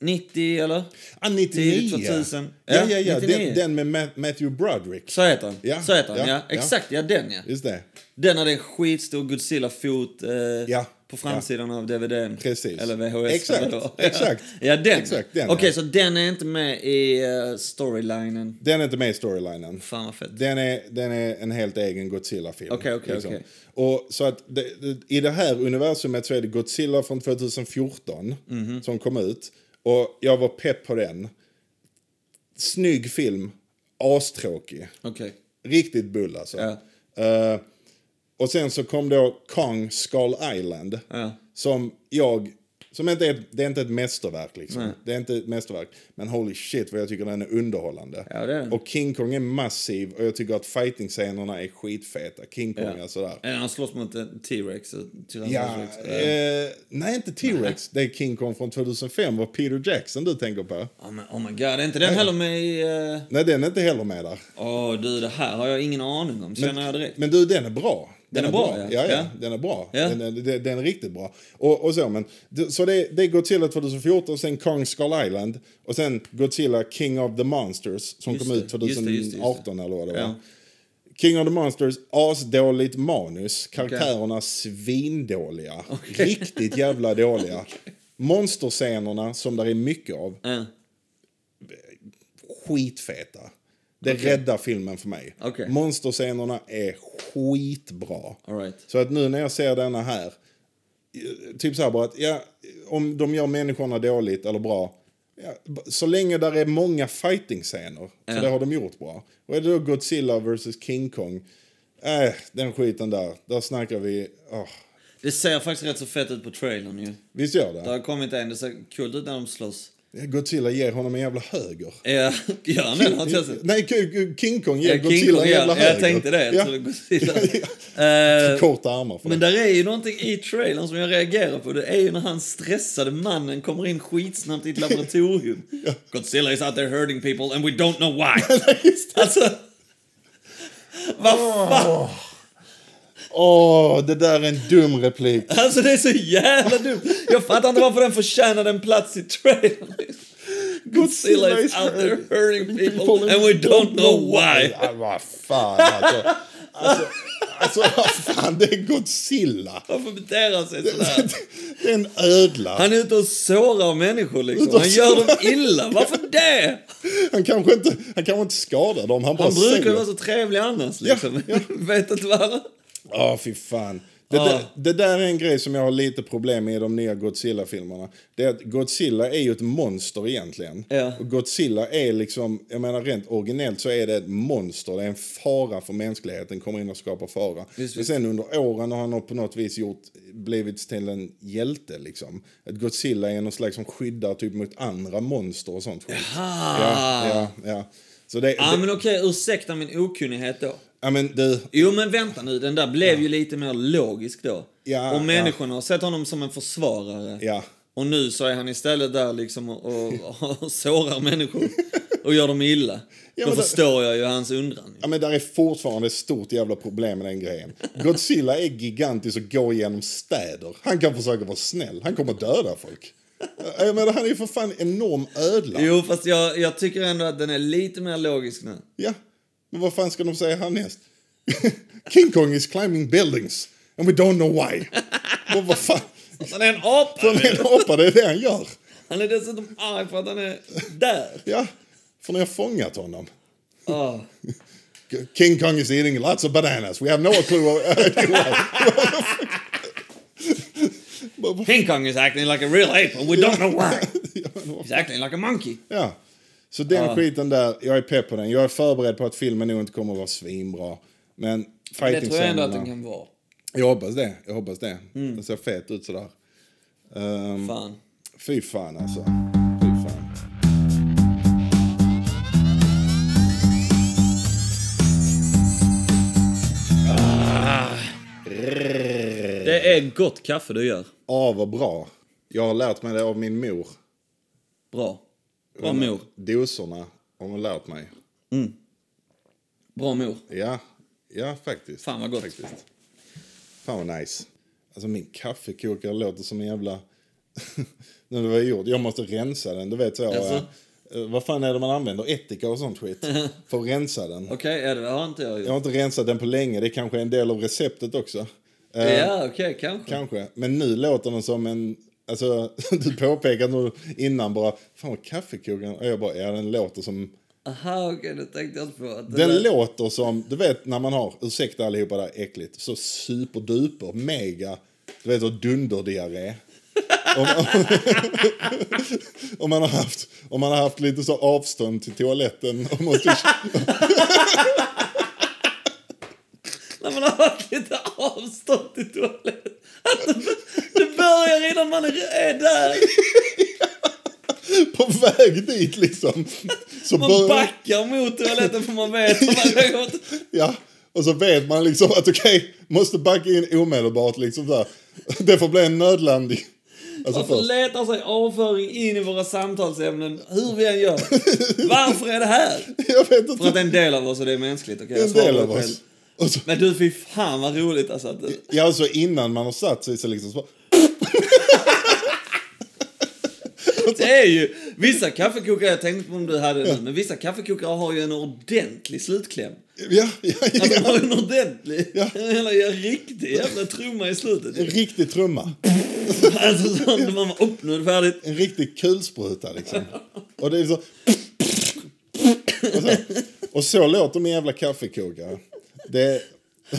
[SPEAKER 2] 90, eller?
[SPEAKER 1] Ah,
[SPEAKER 2] Tidigt
[SPEAKER 1] 99.
[SPEAKER 2] 2000.
[SPEAKER 1] Ja, ja, ja.
[SPEAKER 2] 99.
[SPEAKER 1] Den, den med Ma- Matthew Broderick.
[SPEAKER 2] Så heter han.
[SPEAKER 1] Ja,
[SPEAKER 2] Så heter han, ja.
[SPEAKER 1] ja, ja.
[SPEAKER 2] Exakt, ja den ja.
[SPEAKER 1] Just det.
[SPEAKER 2] Den hade en skitstor Godzilla-fot eh, på
[SPEAKER 1] ja.
[SPEAKER 2] framsidan av DVDn.
[SPEAKER 1] Precis.
[SPEAKER 2] Eller VHS.
[SPEAKER 1] Exakt,
[SPEAKER 2] eller vad.
[SPEAKER 1] exakt.
[SPEAKER 2] ja, den.
[SPEAKER 1] Exakt, den,
[SPEAKER 2] Okej,
[SPEAKER 1] ja.
[SPEAKER 2] så den är inte med i eh, storylinen.
[SPEAKER 1] Den är inte med i storylinen.
[SPEAKER 2] Fan vad fett.
[SPEAKER 1] Den är, den är en helt egen Godzilla-film. liksom.
[SPEAKER 2] Okej, okej, okej.
[SPEAKER 1] Och så att det, det, I det här universumet så är det Godzilla från 2014
[SPEAKER 2] Mhm.
[SPEAKER 1] som kom ut. Och jag var pepp på den. Snygg film, astråkig.
[SPEAKER 2] Okej.
[SPEAKER 1] Riktigt bull alltså.
[SPEAKER 2] Ja.
[SPEAKER 1] Eh, och sen så kom då Kong Skull Island. Som jag Som inte är, det är inte ett mästerverk liksom. Det är inte ett mästerverk. Men holy shit vad jag tycker den är underhållande.
[SPEAKER 2] Ja, det är den.
[SPEAKER 1] Och King Kong är massiv och jag tycker att fighting-scenerna är skitfeta. King Kong är sådär.
[SPEAKER 2] Eller han slåss mot en T-Rex. och
[SPEAKER 1] Ja,
[SPEAKER 2] Tyrannosaurus rex.
[SPEAKER 1] eh, nej inte T-Rex. Det är King Kong från 2005. Var Peter Jackson du tänker på?
[SPEAKER 2] Oh, my, oh my god, är inte den heller med i... eh,
[SPEAKER 1] Nej den är inte heller med där.
[SPEAKER 2] Åh du, det här har jag ingen aning om. Känner jag direkt.
[SPEAKER 1] Men du, den är bra. Den,
[SPEAKER 2] är bra, ja.
[SPEAKER 1] ja. Ja,
[SPEAKER 2] Ja.
[SPEAKER 1] den är bra.
[SPEAKER 2] Ja.
[SPEAKER 1] Den, är- den, den är riktigt bra. Och, och så, men, d- så det, det är Godzilla 2014, sen Kong Skull Island och sen Godzilla King of the Monsters som
[SPEAKER 2] Just
[SPEAKER 1] kom
[SPEAKER 2] det,
[SPEAKER 1] ut
[SPEAKER 2] just det, just det, just det.
[SPEAKER 1] 2018 eller vad det var.
[SPEAKER 2] Ja.
[SPEAKER 1] King of the Monsters, asdåligt manus. Karaktärerna svindåliga. Riktigt jävla
[SPEAKER 2] (laughs)
[SPEAKER 1] dåliga. Monsterscenerna, som där är mycket av,
[SPEAKER 2] Ja,
[SPEAKER 1] skitfeta. Det räddar filmen för mig.
[SPEAKER 2] Okej.
[SPEAKER 1] Monsterscenerna är skitbra.
[SPEAKER 2] all right.
[SPEAKER 1] Så att nu när jag ser denna här, eh, typ så här bara att ja, om de gör människorna dåligt eller bra, ja, b- så länge där är många fighting-scener, så det har de gjort bra. Och är det då Godzilla vs King Kong, äh, den skiten där, där snackar vi, åh,
[SPEAKER 2] Det ser faktiskt rätt så fett ut på trailern ju.
[SPEAKER 1] visst gör
[SPEAKER 2] Det
[SPEAKER 1] det?
[SPEAKER 2] har kommit en, det ser kul ut när de slåss.
[SPEAKER 1] Ja, Godzilla ger honom en jävla höger.
[SPEAKER 2] Ja, (laughs) gör han det? Har inte jag sett.
[SPEAKER 1] Nej, K- K- King Kong ger
[SPEAKER 2] Ja,
[SPEAKER 1] Godzilla
[SPEAKER 2] King Kong,
[SPEAKER 1] en jävla
[SPEAKER 2] ja,
[SPEAKER 1] höger.
[SPEAKER 2] jag tänkte det. Jag
[SPEAKER 1] Ja.
[SPEAKER 2] trodde Godzilla. (laughs) Eh,
[SPEAKER 1] Korta armar för
[SPEAKER 2] Men
[SPEAKER 1] det.
[SPEAKER 2] där är ju någonting i trailern som jag reagerar på. Det är ju när han stressade mannen kommer in skitsnabbt i ett (laughs) laboratorium. Godzilla is out there hurting people and we don't know (laughs) why. alltså... Vad fan?
[SPEAKER 1] Åh, det där är en dum replik.
[SPEAKER 2] Alltså det är så jävla dumt. Jag fattar inte varför den förtjänade en plats i trailern. Godzilla is out there hurting people and we don't know why.
[SPEAKER 1] Ja, vad fan alltså. Alltså, alltså vad fan, det är Godzilla.
[SPEAKER 2] Varför beter han sig sådär?
[SPEAKER 1] Det är en ödla.
[SPEAKER 2] Han är ute och sårar människor
[SPEAKER 1] Ute
[SPEAKER 2] liksom.
[SPEAKER 1] och
[SPEAKER 2] Han gör dem
[SPEAKER 1] sårar.
[SPEAKER 2] illa. Varför det?
[SPEAKER 1] Han kanske inte, han kanske inte skadar dem, han bara
[SPEAKER 2] Han brukar ju
[SPEAKER 1] säger.
[SPEAKER 2] vara så trevlig annars liksom. (laughs) Vet inte vad
[SPEAKER 1] Ja, fy fan. Det,
[SPEAKER 2] Ah.
[SPEAKER 1] där, det där är en grej som jag har lite problem med i de nya Godzilla-filmerna. Det är att Godzilla är ju ett monster egentligen.
[SPEAKER 2] Ja.
[SPEAKER 1] Och Godzilla är liksom, jag menar rent originellt så är det ett monster. Det är en fara för mänskligheten, kommer in och skapar fara.
[SPEAKER 2] Visst,
[SPEAKER 1] Men sen under åren har han på något vis gjort, blivit till en hjälte liksom. Att Godzilla är någon slags som skyddar typ mot andra monster och sånt skit. Ja, ja, ja. Så det,
[SPEAKER 2] Ja
[SPEAKER 1] det,
[SPEAKER 2] Ah, men okej, ursäkta min okunnighet då.
[SPEAKER 1] ja men du,
[SPEAKER 2] Jo men vänta nu, den där blev ju lite mer logisk då.
[SPEAKER 1] Ja,
[SPEAKER 2] och
[SPEAKER 1] ja.
[SPEAKER 2] människorna har sett honom som en försvarare.
[SPEAKER 1] ja.
[SPEAKER 2] Och nu så är han istället där liksom och, och, och sårar människor och gör dem illa.
[SPEAKER 1] Ja,
[SPEAKER 2] då
[SPEAKER 1] men det-
[SPEAKER 2] förstår jag ju hans undran.
[SPEAKER 1] Ja, men där är fortfarande ett stort jävla problem med den grejen. Godzilla är gigantisk och går genom städer. Han kan försöka vara snäll. Han kommer döda folk. Jag menar, han är ju för fan enorm ödla.
[SPEAKER 2] Jo fast jag, jag tycker ändå att den är lite mer logisk nu.
[SPEAKER 1] Ja, men vad fan ska de säga härnäst? (laughs) King Kong is climbing buildings and we don't know why. Men vad fan?
[SPEAKER 2] Han är en apa!
[SPEAKER 1] Han är en apa, det är det han gör.
[SPEAKER 2] Han är dessutom arg för att han är där.
[SPEAKER 1] Ja, för ni har fångat honom.
[SPEAKER 2] Ah.
[SPEAKER 1] King Kong is eating lots of bananas. We have no clue. (laughs)
[SPEAKER 2] King Kong is acting like a real ape and we don't know why.
[SPEAKER 1] (laughs) Ja, men vad
[SPEAKER 2] He's acting like a monkey.
[SPEAKER 1] Ja. Så den skiten där, jag är pepp på den. Jag är förberedd på att filmen nog inte kommer att vara svinbra. Men
[SPEAKER 2] Det tror jag ändå
[SPEAKER 1] fighting-scenerna...
[SPEAKER 2] att den kan Mm. vara.
[SPEAKER 1] Jag hoppas det. Jag hoppas det. Den ser fet ut sådär. Um,
[SPEAKER 2] Fan.
[SPEAKER 1] fy fan alltså. Fy fan.
[SPEAKER 2] Det är gott kaffe du gör.
[SPEAKER 1] Ja, Ah. vad bra. Jag har lärt mig det av min mor.
[SPEAKER 2] Bra. Bra
[SPEAKER 1] Mm.
[SPEAKER 2] mor.
[SPEAKER 1] Dosorna har hon lärt mig.
[SPEAKER 2] Bra mor.
[SPEAKER 1] Ja, ja faktiskt.
[SPEAKER 2] Fan vad gott.
[SPEAKER 1] Faktiskt. Fan vad nice. Alltså min kaffekokare låter som en jävla... (laughs) När det var gjort. Jag måste rensa den, du vet så.
[SPEAKER 2] Jaså?
[SPEAKER 1] eh, eh, vad fan är det man använder? Ättika och sånt
[SPEAKER 2] (laughs)
[SPEAKER 1] skit. För att rensa den.
[SPEAKER 2] Okej, ja, det har inte jag
[SPEAKER 1] Jag
[SPEAKER 2] gjort.
[SPEAKER 1] har inte rensat den på länge, det är kanske är en del av receptet också. Eh,
[SPEAKER 2] Ja, okej, kanske.
[SPEAKER 1] Kanske. Men nu låter den som en... Alltså, (laughs) du påpekade nu innan bara, fan vad kaffekokaren... Och jag bara, ja den låter som...
[SPEAKER 2] Aha, okej, det tänkte jag inte på. Att det
[SPEAKER 1] Den
[SPEAKER 2] där-
[SPEAKER 1] låter som, du vet när man har, ursäkta allihopa där äckligt, så superduper, mega, du vet och dunderdiarré. om, om, man har haft, om man har haft lite så avstånd till toaletten och måste,
[SPEAKER 2] När man har haft lite avstånd till toaletten. Att det, det börjar innan man är där.
[SPEAKER 1] På väg dit liksom. Så
[SPEAKER 2] Man
[SPEAKER 1] bör-
[SPEAKER 2] backar mot toaletten för man vet att man har gått.
[SPEAKER 1] Ja, och så vet man liksom att okej, måste backa in omedelbart liksom där. Det får bli en nödlandning. Alltså
[SPEAKER 2] Varför
[SPEAKER 1] först.
[SPEAKER 2] letar sig avföring in i våra samtalsämnen hur vi än gör? Varför är det här?
[SPEAKER 1] Jag vet inte.
[SPEAKER 2] För att det är en del av oss och det är mänskligt. okej? jag
[SPEAKER 1] en del
[SPEAKER 2] svarar
[SPEAKER 1] av
[SPEAKER 2] på själv.
[SPEAKER 1] oss. Och så,
[SPEAKER 2] Men du, fy fan vad roligt alltså. Att, du-
[SPEAKER 1] ja, och så innan man har satt sig så liksom så bara,
[SPEAKER 2] det är ju, vissa kaffekokare, jag tänkte på om du hade det nu, men vissa kaffekokare har ju en ordentlig slutkläm.
[SPEAKER 1] ja, ja, ja.
[SPEAKER 2] Alltså de har en ordentlig,
[SPEAKER 1] Ja.
[SPEAKER 2] en jävla, en riktig jävla trumma i
[SPEAKER 1] En
[SPEAKER 2] slutet.
[SPEAKER 1] riktig trumma.
[SPEAKER 2] Alltså sånt, man bara, upp nu är det färdigt.
[SPEAKER 1] En riktig kulspruta liksom. Och det är så... Och så, och så låter min jävla kaffekokare. Det,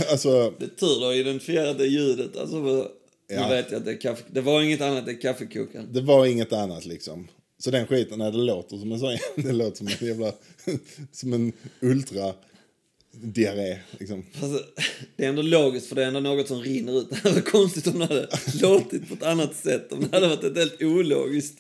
[SPEAKER 1] alltså,
[SPEAKER 2] Det är tur du har identifierat det ljudet. Alltså, för-
[SPEAKER 1] Ja.
[SPEAKER 2] Nu vet jag att det är kaffe... Det var inget annat än kaffekokaren.
[SPEAKER 1] det var inget annat liksom. Så den skiten, när det låter som en sån, det låter som en jävla, som en ultra diarré liksom.
[SPEAKER 2] Alltså, det är ändå logiskt för det är ändå något som rinner ut. (laughs) Det hade varit konstigt om det hade låtit på ett annat sätt. Om det hade varit ett helt ologiskt.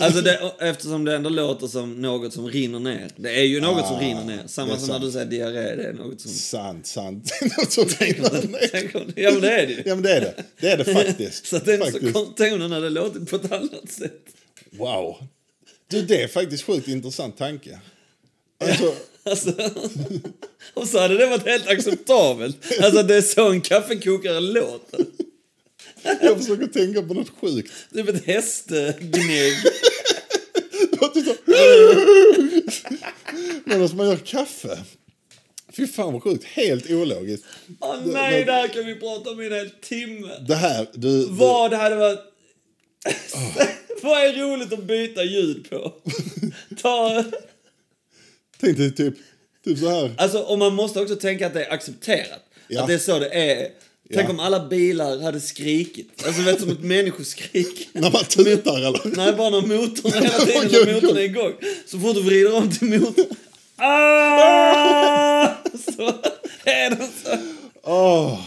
[SPEAKER 2] Alltså det, eftersom det ändå låter som något som rinner ner. Det är ju något som
[SPEAKER 1] Ah,
[SPEAKER 2] rinner ner.
[SPEAKER 1] det
[SPEAKER 2] Samma
[SPEAKER 1] är
[SPEAKER 2] som när
[SPEAKER 1] sant.
[SPEAKER 2] du säger diarré. Det är något som...
[SPEAKER 1] Sant, sant. (laughs) Något som rinner ner.
[SPEAKER 2] Tänk om- (laughs) Ja men det är det ju.
[SPEAKER 1] Ja men det är det. Det är det faktiskt.
[SPEAKER 2] Så att det är inte så
[SPEAKER 1] faktiskt.
[SPEAKER 2] konstigt om den hade låtit på ett annat sätt.
[SPEAKER 1] Wow. Du, det är faktiskt sjukt intressant tanke. Alltså,
[SPEAKER 2] Alltså, (laughs) och så hade det varit helt acceptabelt. Alltså det är så en kaffekokare låter.
[SPEAKER 1] jag försöker tänka på något sjukt.
[SPEAKER 2] Typ ett hästgnägg.
[SPEAKER 1] Medan man gör kaffe. Fy fan vad sjukt. Helt ologiskt.
[SPEAKER 2] Åh nej, det här kan vi prata om i en hel timme.
[SPEAKER 1] Det här, du... du
[SPEAKER 2] Vad hade varit... (laughs) Vad är roligt att byta
[SPEAKER 1] (laughs)
[SPEAKER 2] ljud på? Ta...
[SPEAKER 1] tänk dig typ, typ så här.
[SPEAKER 2] Alltså, och man måste också tänka att det är accepterat.
[SPEAKER 1] Ja.
[SPEAKER 2] Att det är så det är. Tänk
[SPEAKER 1] Ja.
[SPEAKER 2] om alla bilar hade skrikit. Alltså, vet som ett människoskrik.
[SPEAKER 1] När man tutar eller?
[SPEAKER 2] Nej, bara när motorn hela tiden
[SPEAKER 1] Igång,
[SPEAKER 2] när motorn är igång. Så fort du vrider om
[SPEAKER 1] (laughs)
[SPEAKER 2] till motorn... Ah! Så är den så.
[SPEAKER 1] Åh,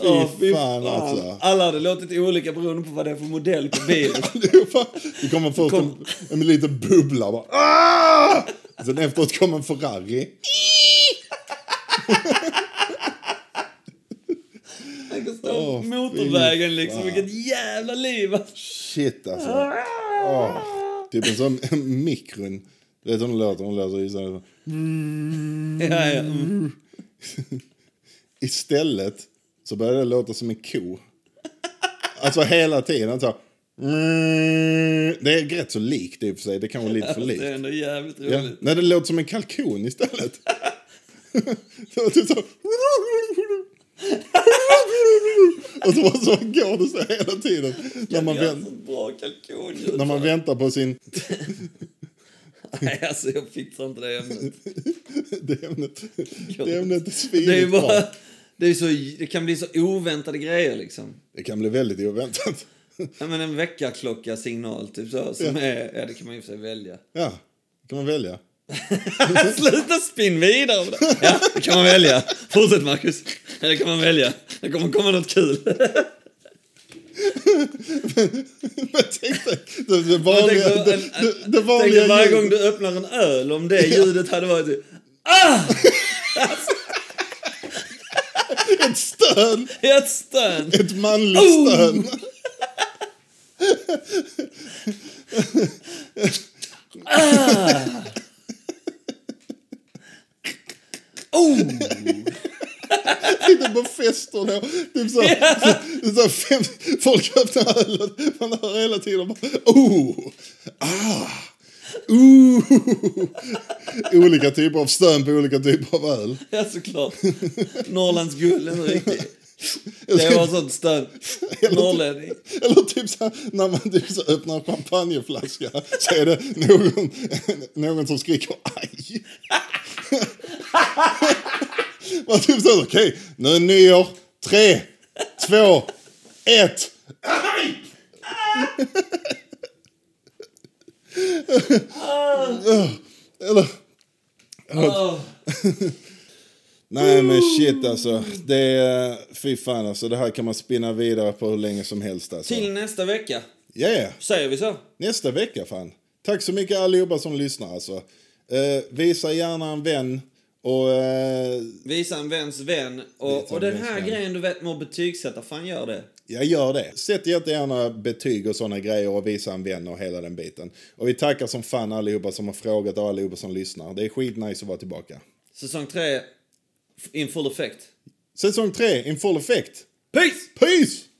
[SPEAKER 1] fy,
[SPEAKER 2] Åh, fy
[SPEAKER 1] fan, alltså.
[SPEAKER 2] Alla hade låtit olika beroende på vad det är för modell på bilen.
[SPEAKER 1] Allihopa. Det kommer först
[SPEAKER 2] Kom.
[SPEAKER 1] En, en liten bubbla bara. "Ah!" Sen efteråt kommer en Ferrari.
[SPEAKER 2] Man kan stå på
[SPEAKER 1] Åh,
[SPEAKER 2] motorvägen
[SPEAKER 1] fy
[SPEAKER 2] liksom.
[SPEAKER 1] fan.
[SPEAKER 2] Vilket jävla liv! alltså.
[SPEAKER 1] Shit alltså. Åh, typ en sån mikron. Du vet hur den låter? Hon låter ju så här.
[SPEAKER 2] Ja, ja. mm.
[SPEAKER 1] Istället så började det låta som en ko. Alltså hela tiden. Så. Det är rätt så likt i och för sig. Det kan vara lite för likt.
[SPEAKER 2] Det är ändå jävligt
[SPEAKER 1] Ja.
[SPEAKER 2] roligt.
[SPEAKER 1] Nej, det låter som en kalkon istället. (laughs) det var typ så... Och så bara så går det så hela tiden. När man,
[SPEAKER 2] Man gör
[SPEAKER 1] vänt,
[SPEAKER 2] så bra kalkonljud.
[SPEAKER 1] när man väntar på sin...
[SPEAKER 2] Nej, alltså jag fixar inte det
[SPEAKER 1] (laughs)
[SPEAKER 2] ämnet.
[SPEAKER 1] Det ämnet, det ämnet är
[SPEAKER 2] Det är ju
[SPEAKER 1] svinigt
[SPEAKER 2] bara...
[SPEAKER 1] bra.
[SPEAKER 2] Det, är så, det kan bli så oväntade grejer liksom.
[SPEAKER 1] Det kan bli väldigt oväntat.
[SPEAKER 2] Ja, men en väckarklocka signal typ så. Som är, ja, det kan man ju för sig välja. (laughs)
[SPEAKER 1] Ja, det kan man välja.
[SPEAKER 2] Sluta spinn vidare på det. Ja, det kan man välja. Fortsätt Marcus. Ja, det kan man välja. Det kommer komma något kul.
[SPEAKER 1] (laughs) Men tänk dig, det, det
[SPEAKER 2] Jag
[SPEAKER 1] vanliga...
[SPEAKER 2] tänkte,
[SPEAKER 1] Det,
[SPEAKER 2] en, en,
[SPEAKER 1] det, det
[SPEAKER 2] tänkte
[SPEAKER 1] vanliga
[SPEAKER 2] varje gång
[SPEAKER 1] ljudet.
[SPEAKER 2] du öppnar en öl, om det ljudet hade varit typ, ah!
[SPEAKER 1] Ett stön!
[SPEAKER 2] Ett stön!
[SPEAKER 1] Ett manligt
[SPEAKER 2] Oh!
[SPEAKER 1] stön! (laughs)
[SPEAKER 2] Oh!
[SPEAKER 1] Sitter på fester då. Typ så, så, så fem, folk öppnar ölen. Man hör hela tiden bara oh, ah, ooh. (laughs) Olika typer av stön på olika typer av öl.
[SPEAKER 2] (laughs) Ja, såklart. Norrlands guld, en riktig. Det var sånt stön. Norrlänning.
[SPEAKER 1] Eller typ så här, när man typ så öppnar en champagneflaska så är det någon, någon som skriker aj. (laughs) Man typ så här, okej, nu är nyår. Tre, två, ett. Aj! Eller,
[SPEAKER 2] Åh.
[SPEAKER 1] (laughs) Nej men shit alltså. Det är, fy fan alltså. Det här kan man spinna vidare på hur länge som helst alltså.
[SPEAKER 2] Till nästa vecka.
[SPEAKER 1] Ja, ja.
[SPEAKER 2] Säger vi så?
[SPEAKER 1] Nästa vecka fan. Tack så mycket allihopa som lyssnar alltså. Eh, visa gärna en vän och... Eh,
[SPEAKER 2] Visa en väns vän. Och,
[SPEAKER 1] Visa
[SPEAKER 2] och
[SPEAKER 1] en
[SPEAKER 2] den
[SPEAKER 1] väns
[SPEAKER 2] här
[SPEAKER 1] vän.
[SPEAKER 2] grejen du vet med att betygsätta, fan gör det.
[SPEAKER 1] jag gör det. Sätt jättegärna betyg och sådana grejer och visa en vän och hela den biten. Och vi tackar som fan allihopa som har frågat och allihopa som lyssnar. Det är skitnice att vara tillbaka.
[SPEAKER 2] Säsong 3 in full effect.
[SPEAKER 1] Säsong 3 in full effect.
[SPEAKER 2] Peace!
[SPEAKER 1] Peace!